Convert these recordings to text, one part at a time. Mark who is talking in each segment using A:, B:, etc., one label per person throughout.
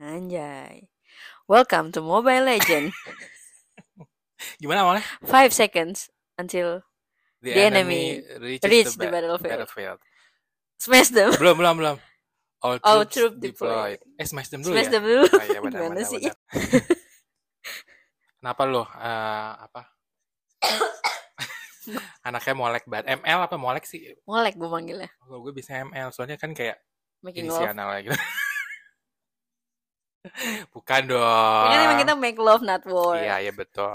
A: Anjay. Welcome to Mobile Legend.
B: Gimana awalnya?
A: Five seconds until The enemy
B: reaches
A: reach the
B: ba-
A: battlefield.
B: battlefield.
A: smash them.
B: Belum, belum, belum. All,
A: All
B: troops
A: troop
B: deployed. Eh, smash them dulu
A: smash
B: ya?
A: them dulu.
B: Oh, iya, benar,
A: Gimana
B: benar,
A: sih?
B: benar. Kenapa lo? eh, apa? Anaknya molek banget. ML apa molek sih?
A: Molek gue manggilnya.
B: Kalau gue bisa ML, soalnya kan kayak
A: Making love.
B: inisial lagi. Bukan dong.
A: Makanya emang kita make love not war.
B: Iya, iya betul.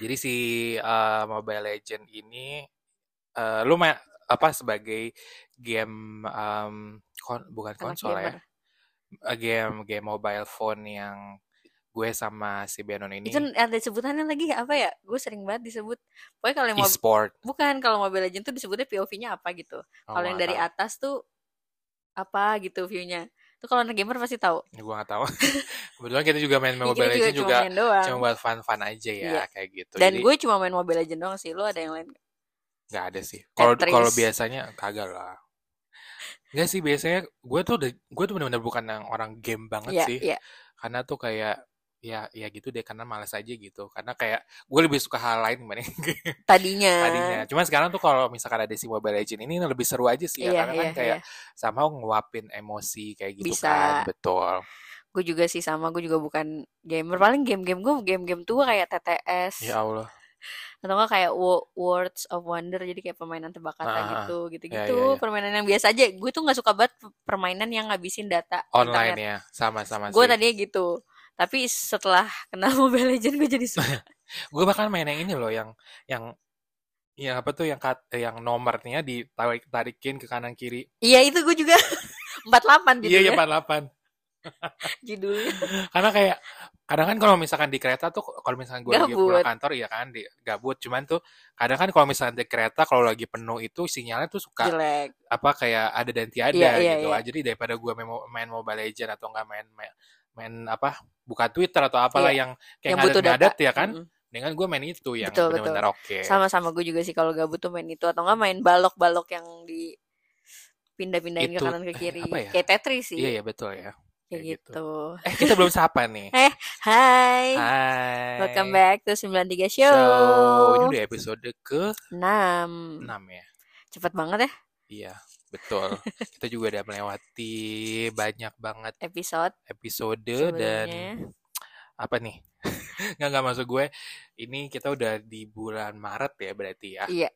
B: Jadi si eh, Mobile Legend ini eh, lu main apa sebagai game em, kon- bukan
A: Anak
B: konsol ya.
A: gamer.
B: Eh, Game game mobile phone yang gue sama si Benon ini
A: Itu ada sebutannya lagi apa ya? Gue sering banget disebut. Pokoknya kalau yang mau
B: e-sport.
A: bukan kalau Mobile Legend tuh disebutnya POV-nya apa gitu.
B: Oh,
A: kalau yang
B: nggak
A: dari
B: tahu.
A: atas tuh apa gitu view-nya. Itu kalau anak gamer pasti tahu.
B: Ya, gue gak tahu. Kebetulan kita juga main
A: Iya,
B: Mobile
A: kita
B: Legend
A: cuma
B: juga
A: main doang.
B: cuma buat fun-fun aja ya
A: Iya.
B: kayak gitu.
A: Dan
B: Jadi
A: gue cuma main Mobile Legend doang sih. Lu ada yang lain?
B: nggak ada sih. Kalau
A: Tetris.
B: kalau biasanya kagak lah. Nggak sih biasanya gue tuh udah gue tuh bener-bener bukan yang orang game banget
A: Iya,
B: sih.
A: iya.
B: karena tuh kayak ya ya gitu deh karena males aja gitu karena kayak gue lebih suka hal lain dibanding game
A: Tadinya.
B: tadinya cuman sekarang tuh kalau misalkan ada si Mobile Legends ini lebih seru aja sih ya
A: Iya,
B: karena
A: iya,
B: kan kayak
A: iya.
B: sama nguapin emosi kayak gitu
A: Bisa.
B: kan betul
A: Gue juga sih sama, gue juga bukan gamer. Paling game-game gue game-game tua kayak TTS
B: ya Allah
A: atau enggak kayak Wo- Words of Wonder jadi kayak permainan tebak kata
B: Ah, ah,
A: gitu, gitu-gitu.
B: Iya, iya, iya.
A: Permainan yang biasa aja. Gue tuh nggak suka banget permainan yang ngabisin data internet.
B: online ya sama-sama
A: Gue
B: sih
A: tadinya gitu. Tapi setelah kenal Mobile Legend gue jadi suka.
B: gue bahkan main yang ini loh yang yang yang apa tuh yang kat- yang nomornya ditarik tarikin ke kanan kiri
A: Iya itu gue juga 48
B: iya
A: judulnya.
B: ya 48
A: judulnya.
B: karena kayak kadang kan kalau misalkan di kereta tuh kalau misalkan gue lagi pulang
A: Gabut.
B: kantor ya kan di, gabut cuman tuh kadang kan kalau misalkan di kereta kalau lagi penuh itu sinyalnya tuh suka
A: Jelek.
B: apa kayak ada dan tiada
A: Iya, iya,
B: gitu
A: iya.
B: lah. jadi daripada gue main, mo- main Mobile Legend atau enggak main main, main apa buka Twitter atau apalah yang kayak
A: Iya. Yang butuh
B: ngadat-ngadat
A: data.
B: ya kan
A: Mm-mm.
B: dengan gue main itu yang
A: Betul,
B: benar-benar oke
A: Sama-sama gue juga sih kalau gabut tuh main itu atau enggak main balok-balok yang di pindah-pindahin ke
B: Itu,
A: kanan ke
B: eh,
A: kiri.
B: apa ya?
A: Kayak Tetris sih.
B: iya ya betul ya
A: kayak
B: kayak gitu.
A: gitu.
B: eh kita belum sapa nih
A: Hai.
B: Hai
A: Welcome back to 93 Show.
B: so ini udah episode ke 6
A: 6.
B: ya
A: Cepet banget ya
B: Iya, betul. Kita juga udah melewati banyak banget
A: episode
B: episode Iya, dan
A: sebelumnya.
B: apa nih? Nggak nggak masuk gue. Ini kita udah di bulan Maret ya berarti ya.
A: Iya.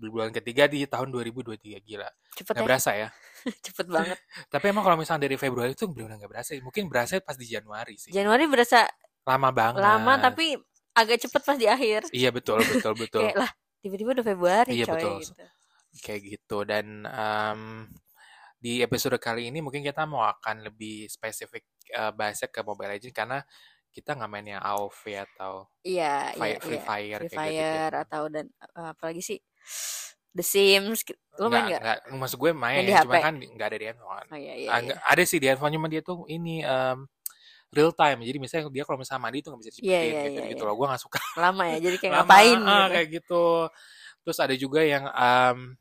B: Di bulan ketiga di tahun 2023 gila.
A: Cepet
B: Nggak
A: ya.
B: berasa ya.
A: Cepet banget.
B: Tapi emang kalau misalnya dari Februari itu benar nggak berasa. Mungkin berasa pas di Januari sih.
A: Januari berasa
B: Lama
A: Iya.
B: banget.
A: lama tapi agak cepet pas di akhir.
B: Iya betul betul betul.
A: Kayak lah tiba-tiba udah Februari
B: Iya,
A: coy
B: betul.
A: gitu.
B: kayak gitu dan em, di episode kali ini mungkin kita mau akan lebih spesifik eh, bahasnya ke Mobile Legends karena kita nggak main yang AoV atau
A: Iya,
B: Fi-
A: iya,
B: Free
A: iya.
B: Fire
A: Free
B: kayak gitu,
A: Fire atau dan eh, apalagi sih The Sims. ki- Lo main nggak?
B: maksud gue main,
A: Main di
B: cuma
A: HP?
B: kan di- nggak ada di handphone.
A: Oh iya iya.
B: Ah,
A: iya.
B: nggak- Ada sih di handphone cuma dia tuh ini em, real time. Jadi misalnya dia kalau misalnya mandi itu nggak bisa dicepetin
A: Iya, iya,
B: gitu,
A: iya,
B: gitu
A: iya.
B: loh. Gue nggak suka.
A: Lama ya. Jadi kayak
B: Lama,
A: ngapain
B: ah,
A: gitu.
B: kayak gitu. Terus ada juga yang em,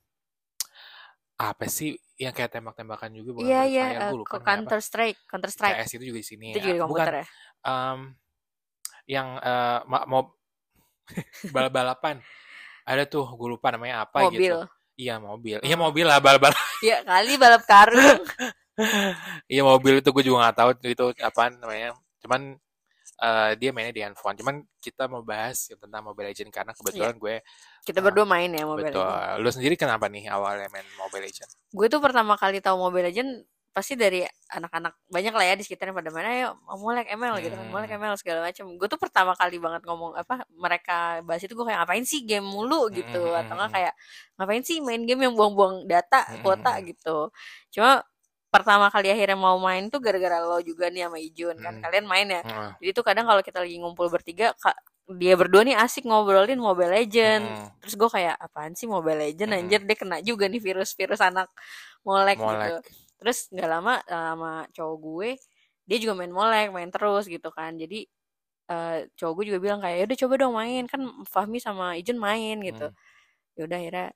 B: apa sih yang kayak tembak-tembakan juga bukan
A: Iya
B: Free
A: iya.
B: Fire,
A: eh,
B: gue lupa
A: ko-
B: namanya apa.
A: Counter Strike, Counter Strike.
B: CS itu juga di sini.
A: Itu juga di
B: ya. Bukan
A: komputer ya.
B: em, yang eh, ma- mau bal-balapan. Ada tuh gue lupa namanya apa
A: Mobil.
B: gitu. Iya mobil. Iya mobil lah bal-bal.
A: Ya kali balap karung.
B: Iya mobil itu gue juga nggak tahu itu apaan namanya. Cuman eh, dia mainnya di handphone. Cuman kita mau bahas tentang Mobile Legends karena
A: Iya.
B: kebetulan gue
A: Kita
B: Ah,
A: berdua main ya Mobile
B: betul.
A: Legends.
B: Lu sendiri kenapa nih awalnya main Mobile Legends?
A: Gue tuh pertama kali tahu Mobile Legends pasti dari anak-anak banyak lah ya di sekitarnya pada main ayo molek ML gitu kan
B: Hmm.
A: molek ML segala macam gue tuh pertama kali banget ngomong apa mereka bahas itu gue kayak ngapain sih game mulu
B: Hmm,
A: gitu
B: hmm, hmm,
A: atau enggak
B: hmm.
A: kayak ngapain sih main game yang buang-buang data
B: Hmm, hmm,
A: kuota
B: hmm.
A: gitu cuma pertama kali akhirnya mau main tuh gara-gara lo juga nih sama Ijun kan
B: Hmm.
A: kalian main ya
B: Heeh.
A: jadi tuh kadang kalau kita lagi ngumpul bertiga ka- dia berdua nih asik ngobrolin Mobile Legend.
B: Mm-mm.
A: Terus gue kayak apaan sih Mobile Legend
B: Mm-mm.
A: anjir dia kena juga nih virus-virus anak molek, gitu.
B: Molek.
A: Terus nggak lama eh, sama cowok gue dia juga main molek, main terus gitu kan. Jadi eh, cowok gue juga bilang kayak udah coba dong main kan Fahmi sama Ijun main gitu.
B: Hmm.
A: Ya udah akhirnya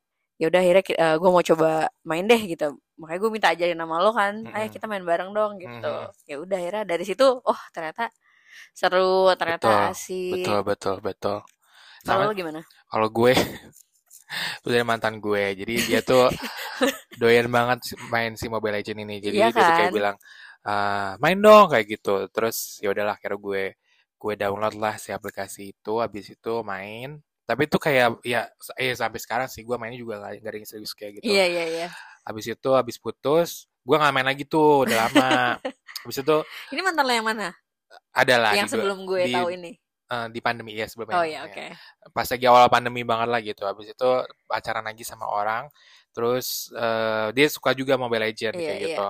A: ya udah akhirnya gue mau coba main deh gitu makanya gue minta ajarin nama lo kan
B: Mm-mm.
A: ayo kita main bareng dong gitu
B: Mhm.
A: ya udah akhirnya dari situ oh ternyata seru ternyata
B: Betul,
A: asik
B: betul betul betul
A: kalau
B: sama
A: lo gimana
B: kalau gue itu dari mantan gue jadi dia tuh doyan banget main si Mobile Legend ini jadi
A: Iya
B: dia tuh kayak
A: kan?
B: bilang "Ah, main dong kayak gitu terus ya udahlah akhirnya gue gue download lah si aplikasi itu habis itu main tapi itu kayak ya eh sampai sekarang sih gue mainnya juga gak, gak ada yang serius kayak gitu
A: iya iya iya
B: habis itu habis putus gue nggak main lagi tuh udah lama habis itu
A: ini mantan lo yang mana
B: adalah
A: yang
B: di, dua-
A: sebelum gue
B: di-
A: tahu ini
B: eh, di pandemi ya sebelum
A: oh
B: ini,
A: ya
B: ya.
A: oke
B: pas lagi awal pandemi banget lah gitu habis itu pacaran lagi sama orang terus eh, dia suka juga Mobile Legend
A: Iya,
B: kayak
A: iya.
B: gitu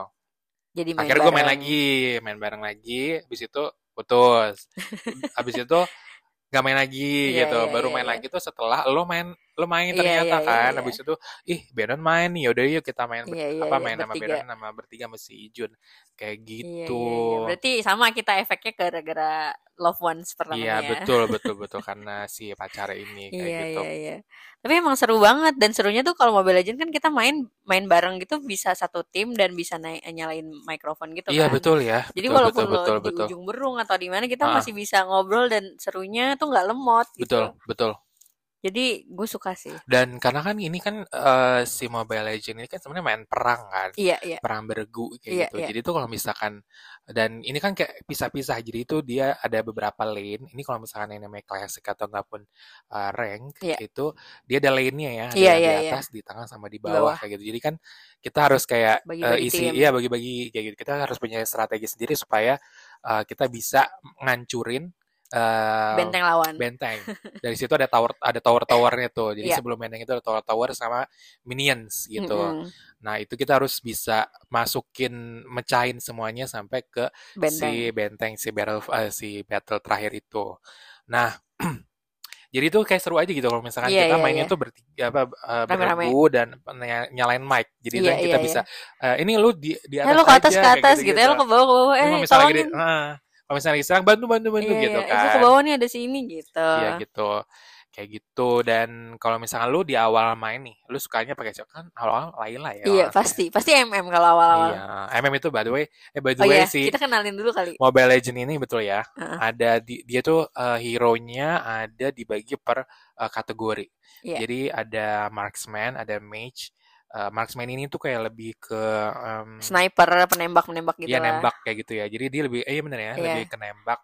A: jadi main
B: akhirnya gue main
A: bareng.
B: lagi gitu. main bareng lagi habis itu putus habis itu nggak main lagi
A: Iya,
B: gitu
A: iya,
B: baru
A: iya,
B: main
A: iya.
B: lagi tuh setelah lo main lo main
A: Iya,
B: ternyata
A: iya, iya,
B: kan
A: iya.
B: habis itu ih Benon main nih yaudah yuk kita main ber-
A: Iya, iya,
B: apa
A: iya,
B: main sama
A: bertiga.
B: Benon sama bertiga sama si Ijun kayak
A: Iya,
B: gitu
A: iya, iya. Berarti sama kita efeknya gara-gara loved ones
B: iya
A: pertamanya ya.
B: betul betul betul karena si pacar ini kayak
A: Iya,
B: gitu
A: iya, iya. Tapi emang seru banget dan serunya tuh kalau Mobile Legends kan kita main main bareng gitu bisa satu tim dan bisa naik nyalain mikrofon gitu
B: iya
A: kan.
B: betul ya
A: Jadi
B: betul
A: walaupun lo
B: betul betul
A: di
B: betul
A: ujung berung atau di mana kita
B: Ah.
A: masih bisa ngobrol dan serunya tuh nggak lemot gitu.
B: Betul, betul.
A: Jadi gue suka sih.
B: Dan karena kan ini kan eh, si Mobile Legends ini kan sebenarnya main perang kan,
A: Iya, iya.
B: perang bergu kayak
A: Iya,
B: gitu.
A: iya.
B: Jadi tuh kalau misalkan dan ini kan kayak pisah-pisah. Jadi itu dia ada beberapa lane. Ini kalau misalkan yang namanya classic atau enggak pun eh, rank
A: Iya.
B: itu dia ada lane-nya ya, ada
A: Iya,
B: yang di
A: iya, iya.
B: atas, di tengah sama di bawah
A: bawah.
B: kayak gitu. Jadi kan kita harus kayak eh,
A: Bagi-bagi
B: isi
A: tim.
B: iya bagi-bagi kayak gitu. Kita harus punya strategi sendiri supaya eh, kita bisa ngancurin eh,
A: Benteng lawan.
B: benteng. Dari situ ada tower ada tower-towernya tuh. Jadi
A: Iya.
B: sebelum benteng itu ada tower-tower sama minions gitu.
A: Mm-mm.
B: Nah, itu kita harus bisa masukin mecahin semuanya sampai ke
A: Benteng.
B: si benteng si battle eh, si battle terakhir itu. Nah, jadi itu kayak seru aja gitu kalau misalkan
A: Iya,
B: kita
A: iya,
B: mainnya
A: iya.
B: tuh bertiga apa eh,
A: Rame-rame.
B: beregu dan ny- nyalain mic. Jadi itu
A: Iya,
B: yang
A: iya,
B: kita
A: iya.
B: bisa eh, ini lu di di
A: Eh lo ke atas
B: atas aja
A: ke
B: kayak
A: atas gitu, ya lo ke
B: gitu-gitu.
A: bawah ke bawah
B: Ini
A: eh
B: kalau misalnya lagi
A: tolongin.
B: di- ah, kalau misalnya lagi serang bantu bantu bantu
A: Iya iya,
B: gitu
A: eh gue ke
B: kan.
A: bawah nih ada sini gitu.
B: Iya gitu. Kayak gitu dan kalau misalkan lu di awal main nih, lu sukanya pakai siapa? kan awal-awal Laila
A: Iya
B: ya orangnya.
A: pasti pasti MM kalau awal-awal.
B: Iya, MM itu by the way, eh by the
A: Oh
B: way
A: iya
B: si
A: kita kenalin dulu kali.
B: Mobile Legend ini betul ya.
A: Heeh.
B: Ada di, dia tuh eh, hero-nya ada dibagi per eh, kategori.
A: Iya
B: Jadi ada marksman, ada mage. Eh, marksman ini tuh kayak lebih ke em,
A: sniper penembak menembak gitu
B: dia
A: lah.
B: nembak kayak gitu ya. Jadi dia lebih eh iya bener ya,
A: Iya
B: lebih ke nembak.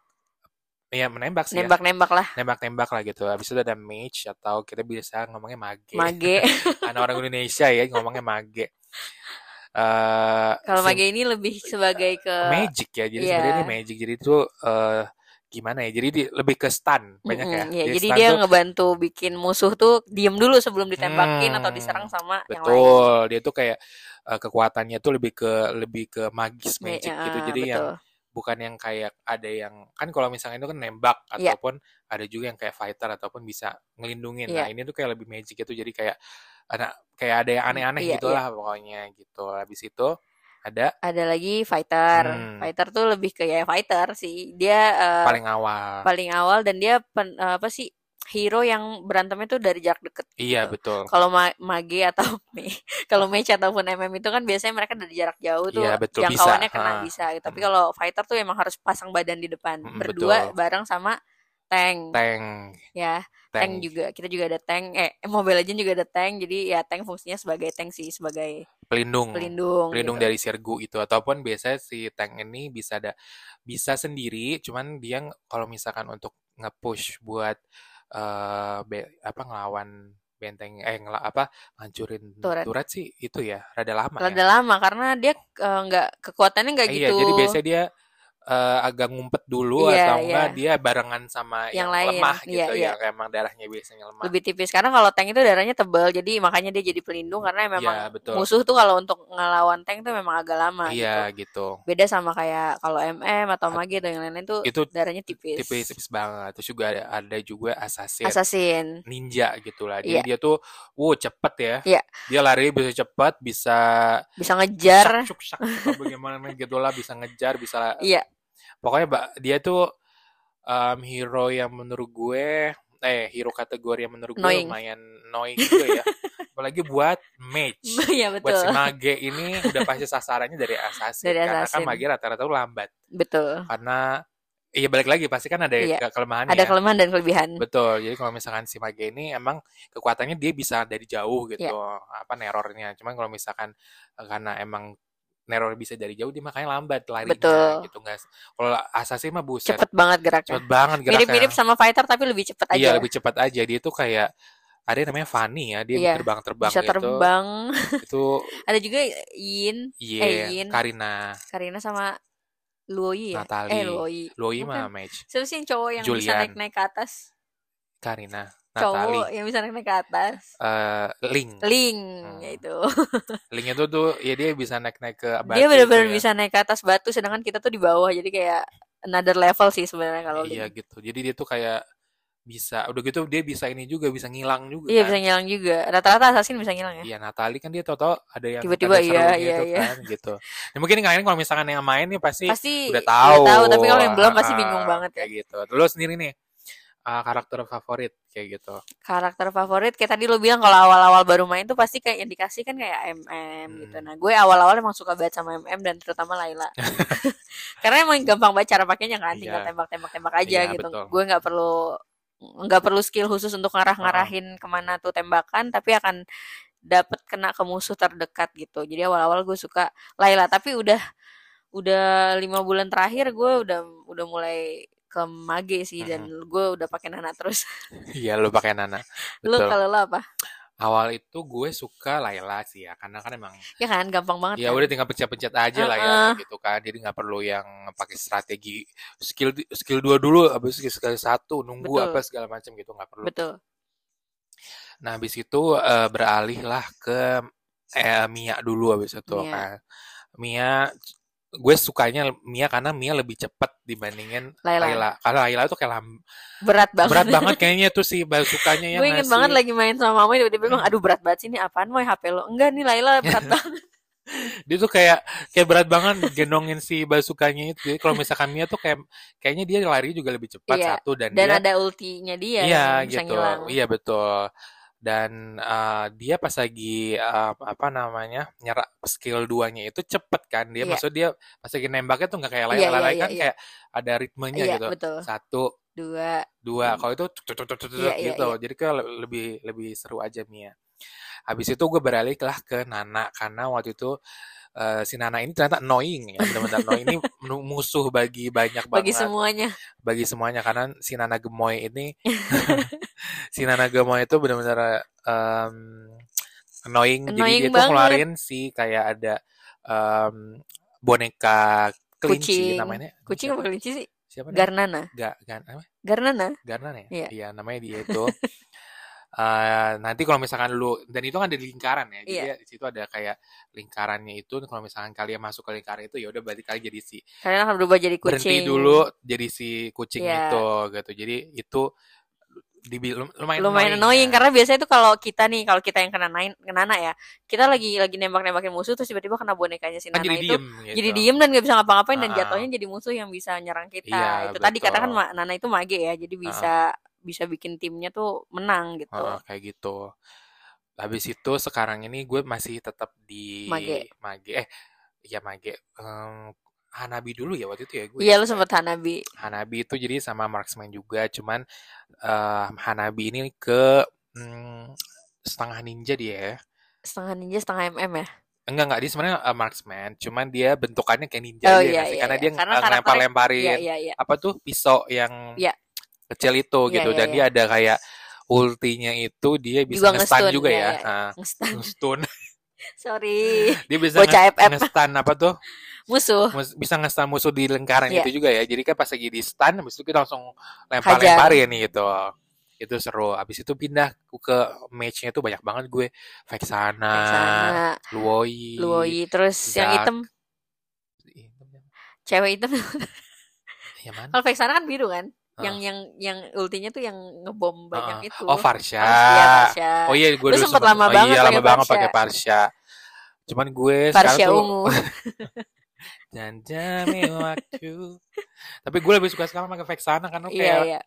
B: Iya, menembak sih ya.
A: nembak nembak lah
B: nembak-nembak lah gitu. Habis itu ada mage atau kita bisa ngomongnya mage.
A: mage.
B: Anak orang Indonesia ya ngomongnya mage. eh
A: kalau
B: si
A: mage ini lebih sebagai ke
B: magic ya.
A: Eh,
B: Jadi
A: iya.
B: sebenarnya ini magic. Jadi itu eh gimana ya? Jadi di- lebih ke stun banyak ya.
A: Mm-mm, iya
B: Jadi
A: jadi
B: stun
A: dia
B: tuh
A: ngebantu bikin musuh tuh diem dulu sebelum ditembakin atau diserang
B: hmm,
A: sama yang lain.
B: betul. Dia tuh kayak eh, kekuatannya tuh lebih ke lebih ke magis
A: Me-
B: magic gitu.
A: ah,
B: Jadi yang
A: betul.
B: bukan yang kayak ada yang kan kalau misalnya itu kan nembak
A: Iya
B: ataupun ada juga yang kayak fighter ataupun bisa ngelindungin.
A: iya
B: Nah, ini tuh kayak lebih magic itu jadi kayak ada kayak ada yang aneh-aneh
A: iya
B: gitu
A: iya.
B: lah pokoknya gitu. Habis itu ada
A: Ada lagi fighter.
B: hmm,
A: Fighter tuh lebih ke ya fighter sih. Dia eh,
B: paling awal.
A: paling awal dan dia pen- eh, apa sih hero yang berantemnya tuh dari jarak deket
B: Iya,
A: gitu.
B: betul.
A: Kalau ma- mage atau me, kalau mage ataupun mm itu kan biasanya mereka dari jarak jauh tuh
B: Iya, betul bisa.
A: jangkauannya
B: Ha.
A: kena bisa. gitu. Tapi
B: Mm,
A: kalau fighter tuh emang harus pasang badan di depan
B: mm,
A: berdua
B: betul.
A: bareng sama tank
B: Tank,
A: ya. Tank
B: tank
A: juga kita juga ada tank. Eh Mobile Legends juga ada tank. Jadi ya tank fungsinya sebagai tank sih sebagai
B: pelindung
A: pelindung
B: Mm. pelindung
A: gitu.
B: dari sergu itu ataupun biasanya si tank ini bisa ada bisa sendiri cuman dia ng- kalau misalkan untuk nge-push buat eh be- apa ngelawan benteng eh ngela, apa hancurin
A: Turret.
B: turret sih itu ya rada lama ya
A: Rada lama karena dia eh, nggak kekuatannya nggak
B: Eh, iya jadi
A: gitu.
B: biasanya dia eh, agak ngumpet dulu
A: Iya
B: atau
A: iya.
B: enggak dia barengan sama
A: Yang
B: yang
A: lain.
B: lemah
A: Iya
B: gitu
A: iya.
B: yang emang darahnya biasanya lemah
A: lebih tipis karena kalau tank itu darahnya tebal jadi makanya dia jadi pelindung karena memang
B: iya betul
A: musuh tuh kalau untuk ngelawan tank tuh memang agak lama
B: iya
A: gitu
B: gitu
A: beda sama kayak kalau MM atau
B: At-
A: mage atau yang lain-lain tuh
B: itu
A: darahnya tipis
B: tipis-tipis banget terus juga ada, ada juga assassin
A: assassin
B: ninja gitulah.
A: iya
B: Jadi dia tuh, wow cepet ya.
A: iya
B: Dia lari bisa cepet, bisa
A: bisa ngejar
B: sak cuk sak cuk apa gimana gitu lah, bisa ngejar, bisa
A: iya
B: pokoknya ba- dia tuh um, hero yang menurut gue eh hero kategori yang menurut gue
A: annoying
B: lumayan annoying juga ya. apalagi buat mage
A: Iya
B: buat si
A: betul.
B: mage ini udah pasti sasarannya dari assassin
A: Dari
B: karena kan
A: assassin.
B: mage rata-rata tuh lambat
A: Betul.
B: karena iya balik lagi pasti kan ada
A: Iya.
B: ke- kelemahannya
A: Ada
B: ya.
A: kelemahan dan kelebihan.
B: Betul. Jadi kalau misalkan si Mage ini emang kekuatannya dia bisa dari jauh gitu,
A: Iya.
B: apa nerornya. Cuman kalau misalkan eh, karena emang neror bisa dari jauh, dia makanya lambat larinya
A: Betul.
B: gitu nggak s- Kalau assassin mah buset,
A: Cepet banget geraknya.
B: cepet banget geraknya.
A: Mirip-mirip sama fighter tapi lebih cepet aja.
B: Iya, lebih cepat aja. Dia tuh kayak ada yang namanya Fanny ya, dia
A: Iya.
B: terbang-terbang
A: Bisa
B: gitu.
A: terbang.
B: Itu
A: Ada juga Yin,
B: iya,
A: Eh, Yin.
B: Karina,
A: Karina sama Luoi ya. Eh
B: Natalie.
A: Luoi.
B: Loi
A: Bukan.
B: mah match.
A: Siapa sih yang cowok yang bisa
B: Julian.
A: naik-naik ke atas?
B: Karina,
A: Cowok
B: Natalie,
A: yang bisa naik-naik ke atas.
B: eh, Ling.
A: Ling,
B: Hmm.
A: ya itu.
B: Ling itu tuh ya dia bisa naik-naik ke batu
A: Dia
B: gitu
A: benar-benar
B: ya.
A: bisa naik ke atas batu, sedangkan kita tuh di bawah. Jadi kayak another level sih sebenarnya kalau
B: Iya
A: Ling.
B: gitu. Jadi dia tuh kayak bisa udah gitu dia bisa ini juga bisa ngilang juga
A: Iya
B: kan.
A: bisa ngilang juga. Rata-rata assassin bisa ngilang ya.
B: Iya Natali kan dia tau-tau ada yang
A: Tiba-tiba,
B: tanda
A: iya,
B: serunya
A: iya,
B: itu
A: iya.
B: kan gitu. Nah, mungkin kalian kalau misalkan yang main nih pasti,
A: Pasti
B: udah tahu.
A: tapi kalau yang belum pasti
B: Ah,
A: bingung banget ya.
B: kayak gitu. Terus sendiri nih ah, karakter favorit kayak gitu.
A: Karakter favorit kayak tadi lo bilang kalau awal-awal baru main tuh pasti kayak indikasi kan kayak MM gitu.
B: Hmm.
A: Nah, gue awal-awal emang suka banget sama MM dan terutama Laila. Karena emang gampang banget cara pakainya kan, tinggal
B: Iya.
A: tembak-tembak-tembak aja
B: Iya,
A: gitu.
B: betul.
A: Gue nggak perlu nggak perlu skill khusus untuk ngarah-ngarahin kemana tuh tembakan, tapi akan dapat kena ke musuh terdekat gitu. Jadi awal-awal gue suka Laila, tapi udah udah lima bulan terakhir gue udah udah mulai ke Mage
B: Hmm.
A: sih dan gue udah pakai Nana terus.
B: Iya lu pakai Nana.
A: Lu
B: Betul.
A: kalau lo apa?
B: Awal itu gue suka Laila sih ya karena kan emang
A: Ya kan gampang banget kan?
B: ya udah tinggal pencet-pencet aja lah ya
A: Heeh.
B: gitu kan jadi nggak perlu yang pakai strategi skill skill dua dulu habis skill, skill satu nunggu
A: Betul.
B: apa segala macam gitu nggak perlu
A: Betul.
B: nah habis itu eh, beralihlah ke eh, Mia dulu habis itu
A: Mia.
B: kan Mia gue sukanya Mia karena Mia lebih cepat dibandingin
A: Laila.
B: Laila karena Laila tuh kayak lam-
A: Berat banget.
B: berat banget kayaknya tuh sih baru sukanya ya
A: gue inget
B: nggak
A: banget
B: sih?
A: lagi main sama mama tiba-tiba bilang aduh berat banget sih ini apaan mau HP lo enggak nih Laila berat banget
B: dia tuh kayak kayak berat banget gendongin si basukanya itu jadi kalau misalkan Mia tuh kayak kayaknya dia lari juga lebih cepat
A: Iya,
B: satu dan,
A: dan
B: dia
A: ada ultinya dia
B: iya
A: yang bisa
B: gitu
A: ngilang
B: iya betul dan eh, dia pas lagi eh, apa namanya nyerap skill duanya itu cepet kan
A: Iya.
B: dia maksud dia pas lagi nembaknya tuh nggak kayak lain
A: Iya,
B: lain
A: iya,
B: kan
A: iya,
B: kayak ada ritmenya
A: iya
B: gitu
A: betul
B: satu
A: dua Hmm.
B: dua kalau itu tuk, tuk, tuk, tuk, tuk,
A: Iya, iya,
B: gitu jadi kayak le- lebih lebih seru aja Mia habis itu gue beralih lah ke Nana karena waktu itu eh, si Nana ini ternyata annoying ya benar-benar annoying ini menu- musuh bagi banyak
A: bagi
B: banget
A: semuanya
B: bagi semuanya karena si Nana Gemoy ini si Nana Gemoy itu benar-benar em, annoying.
A: Annoying
B: jadi dia tuh
A: banget.
B: ngeluarin si kayak ada em, boneka kelinci
A: Kucing.
B: namanya
A: kucing apa kelinci sih
B: siapa namanya?
A: Garnana
B: Ga- Ga- apa?
A: Garnana
B: Garnan ya
A: Iya.
B: iya namanya dia itu Eh, nanti kalau misalkan lu dan itu kan ada di lingkaran ya
A: Iya.
B: jadi di situ ada kayak lingkarannya itu kalau misalkan kalian masuk ke lingkaran itu ya udah berarti kalian jadi si
A: kalian akan berubah jadi kucing
B: berhenti dulu jadi si kucing
A: Iya.
B: itu gitu jadi itu dibil- lumayan ya.
A: lumayan annoying karena biasanya tuh kalau kita nih kalau kita yang kena nain kena Nana ya kita lagi lagi nembak nembakin musuh terus tiba-tiba kena bonekanya si
B: kan
A: Nana
B: jadi
A: itu
B: diem gitu.
A: jadi diem dan gak bisa ngapa-ngapain dan
B: Ah.
A: jatuhnya jadi musuh yang bisa nyerang kita
B: Iya,
A: itu tadi katakan
B: betul.
A: Ma- Nana itu mage ya jadi bisa bisa bikin timnya tuh menang gitu
B: Heeh, kayak gitu habis itu sekarang ini gue masih tetap di
A: Mage.
B: mage eh iya mage Em, Hanabi dulu ya waktu itu ya gue
A: iya lu
B: ya.
A: sempet Hanabi
B: Hanabi itu jadi sama marksman juga cuman eh, Hanabi ini ke mm, setengah ninja dia ya
A: setengah ninja setengah mm ya
B: enggak enggak dia sebenarnya eh, marksman cuman dia bentukannya kayak ninja
A: Oh, iya,
B: aja nggak sih?
A: iya,
B: karena
A: iya.
B: dia
A: Karena
B: lempar lemparin
A: iya iya iya
B: apa tuh pisau yang
A: Iya.
B: kecil itu
A: Iya,
B: gitu
A: iya,
B: dan
A: iya.
B: dia ada kayak ultinya itu dia
A: Juga
B: bisa nge-stun
A: nge-stun,
B: juga
A: iya,
B: ya.
A: iya,
B: Nah,
A: Ngestan.
B: nge-stun.
A: sorry
B: Dia bisa
A: Bocah
B: nge-
A: FF.
B: nge-stun apa tuh?
A: musuh
B: Mus- Bisa nge-stun musuh di lingkaran
A: Iya.
B: itu juga ya. Jadi kan pas lagi di stun habis itu kita langsung lempar-lemparin gitu. Itu seru. Habis itu pindah ke match-nya itu banyak banget gue. Ah, Vexana,
A: Sana
B: Luoi.
A: Luoi terus yang
B: Zack.
A: hitam cewek hitam
B: Ya mana?
A: kalau Vexana kan biru kan
B: Ah.
A: yang yang yang ultinya tuh yang ngebom banyak
B: Ah, ah.
A: itu
B: Oh, Farsha.
A: Farsha, Farsha.
B: Oh iya, gue
A: Lu
B: dulu
A: sempet
B: sempet-
A: lama
B: oh,
A: banget
B: iya,
A: pakai
B: lama banget
A: Farsha.
B: pakai Parsha. Cuman gue iya, sekarang
A: Farsha
B: tuh
A: ungu
B: dan jamin waktu. Tapi gue lebih suka sekarang pakai Vexana karena
A: iya
B: kayak
A: iya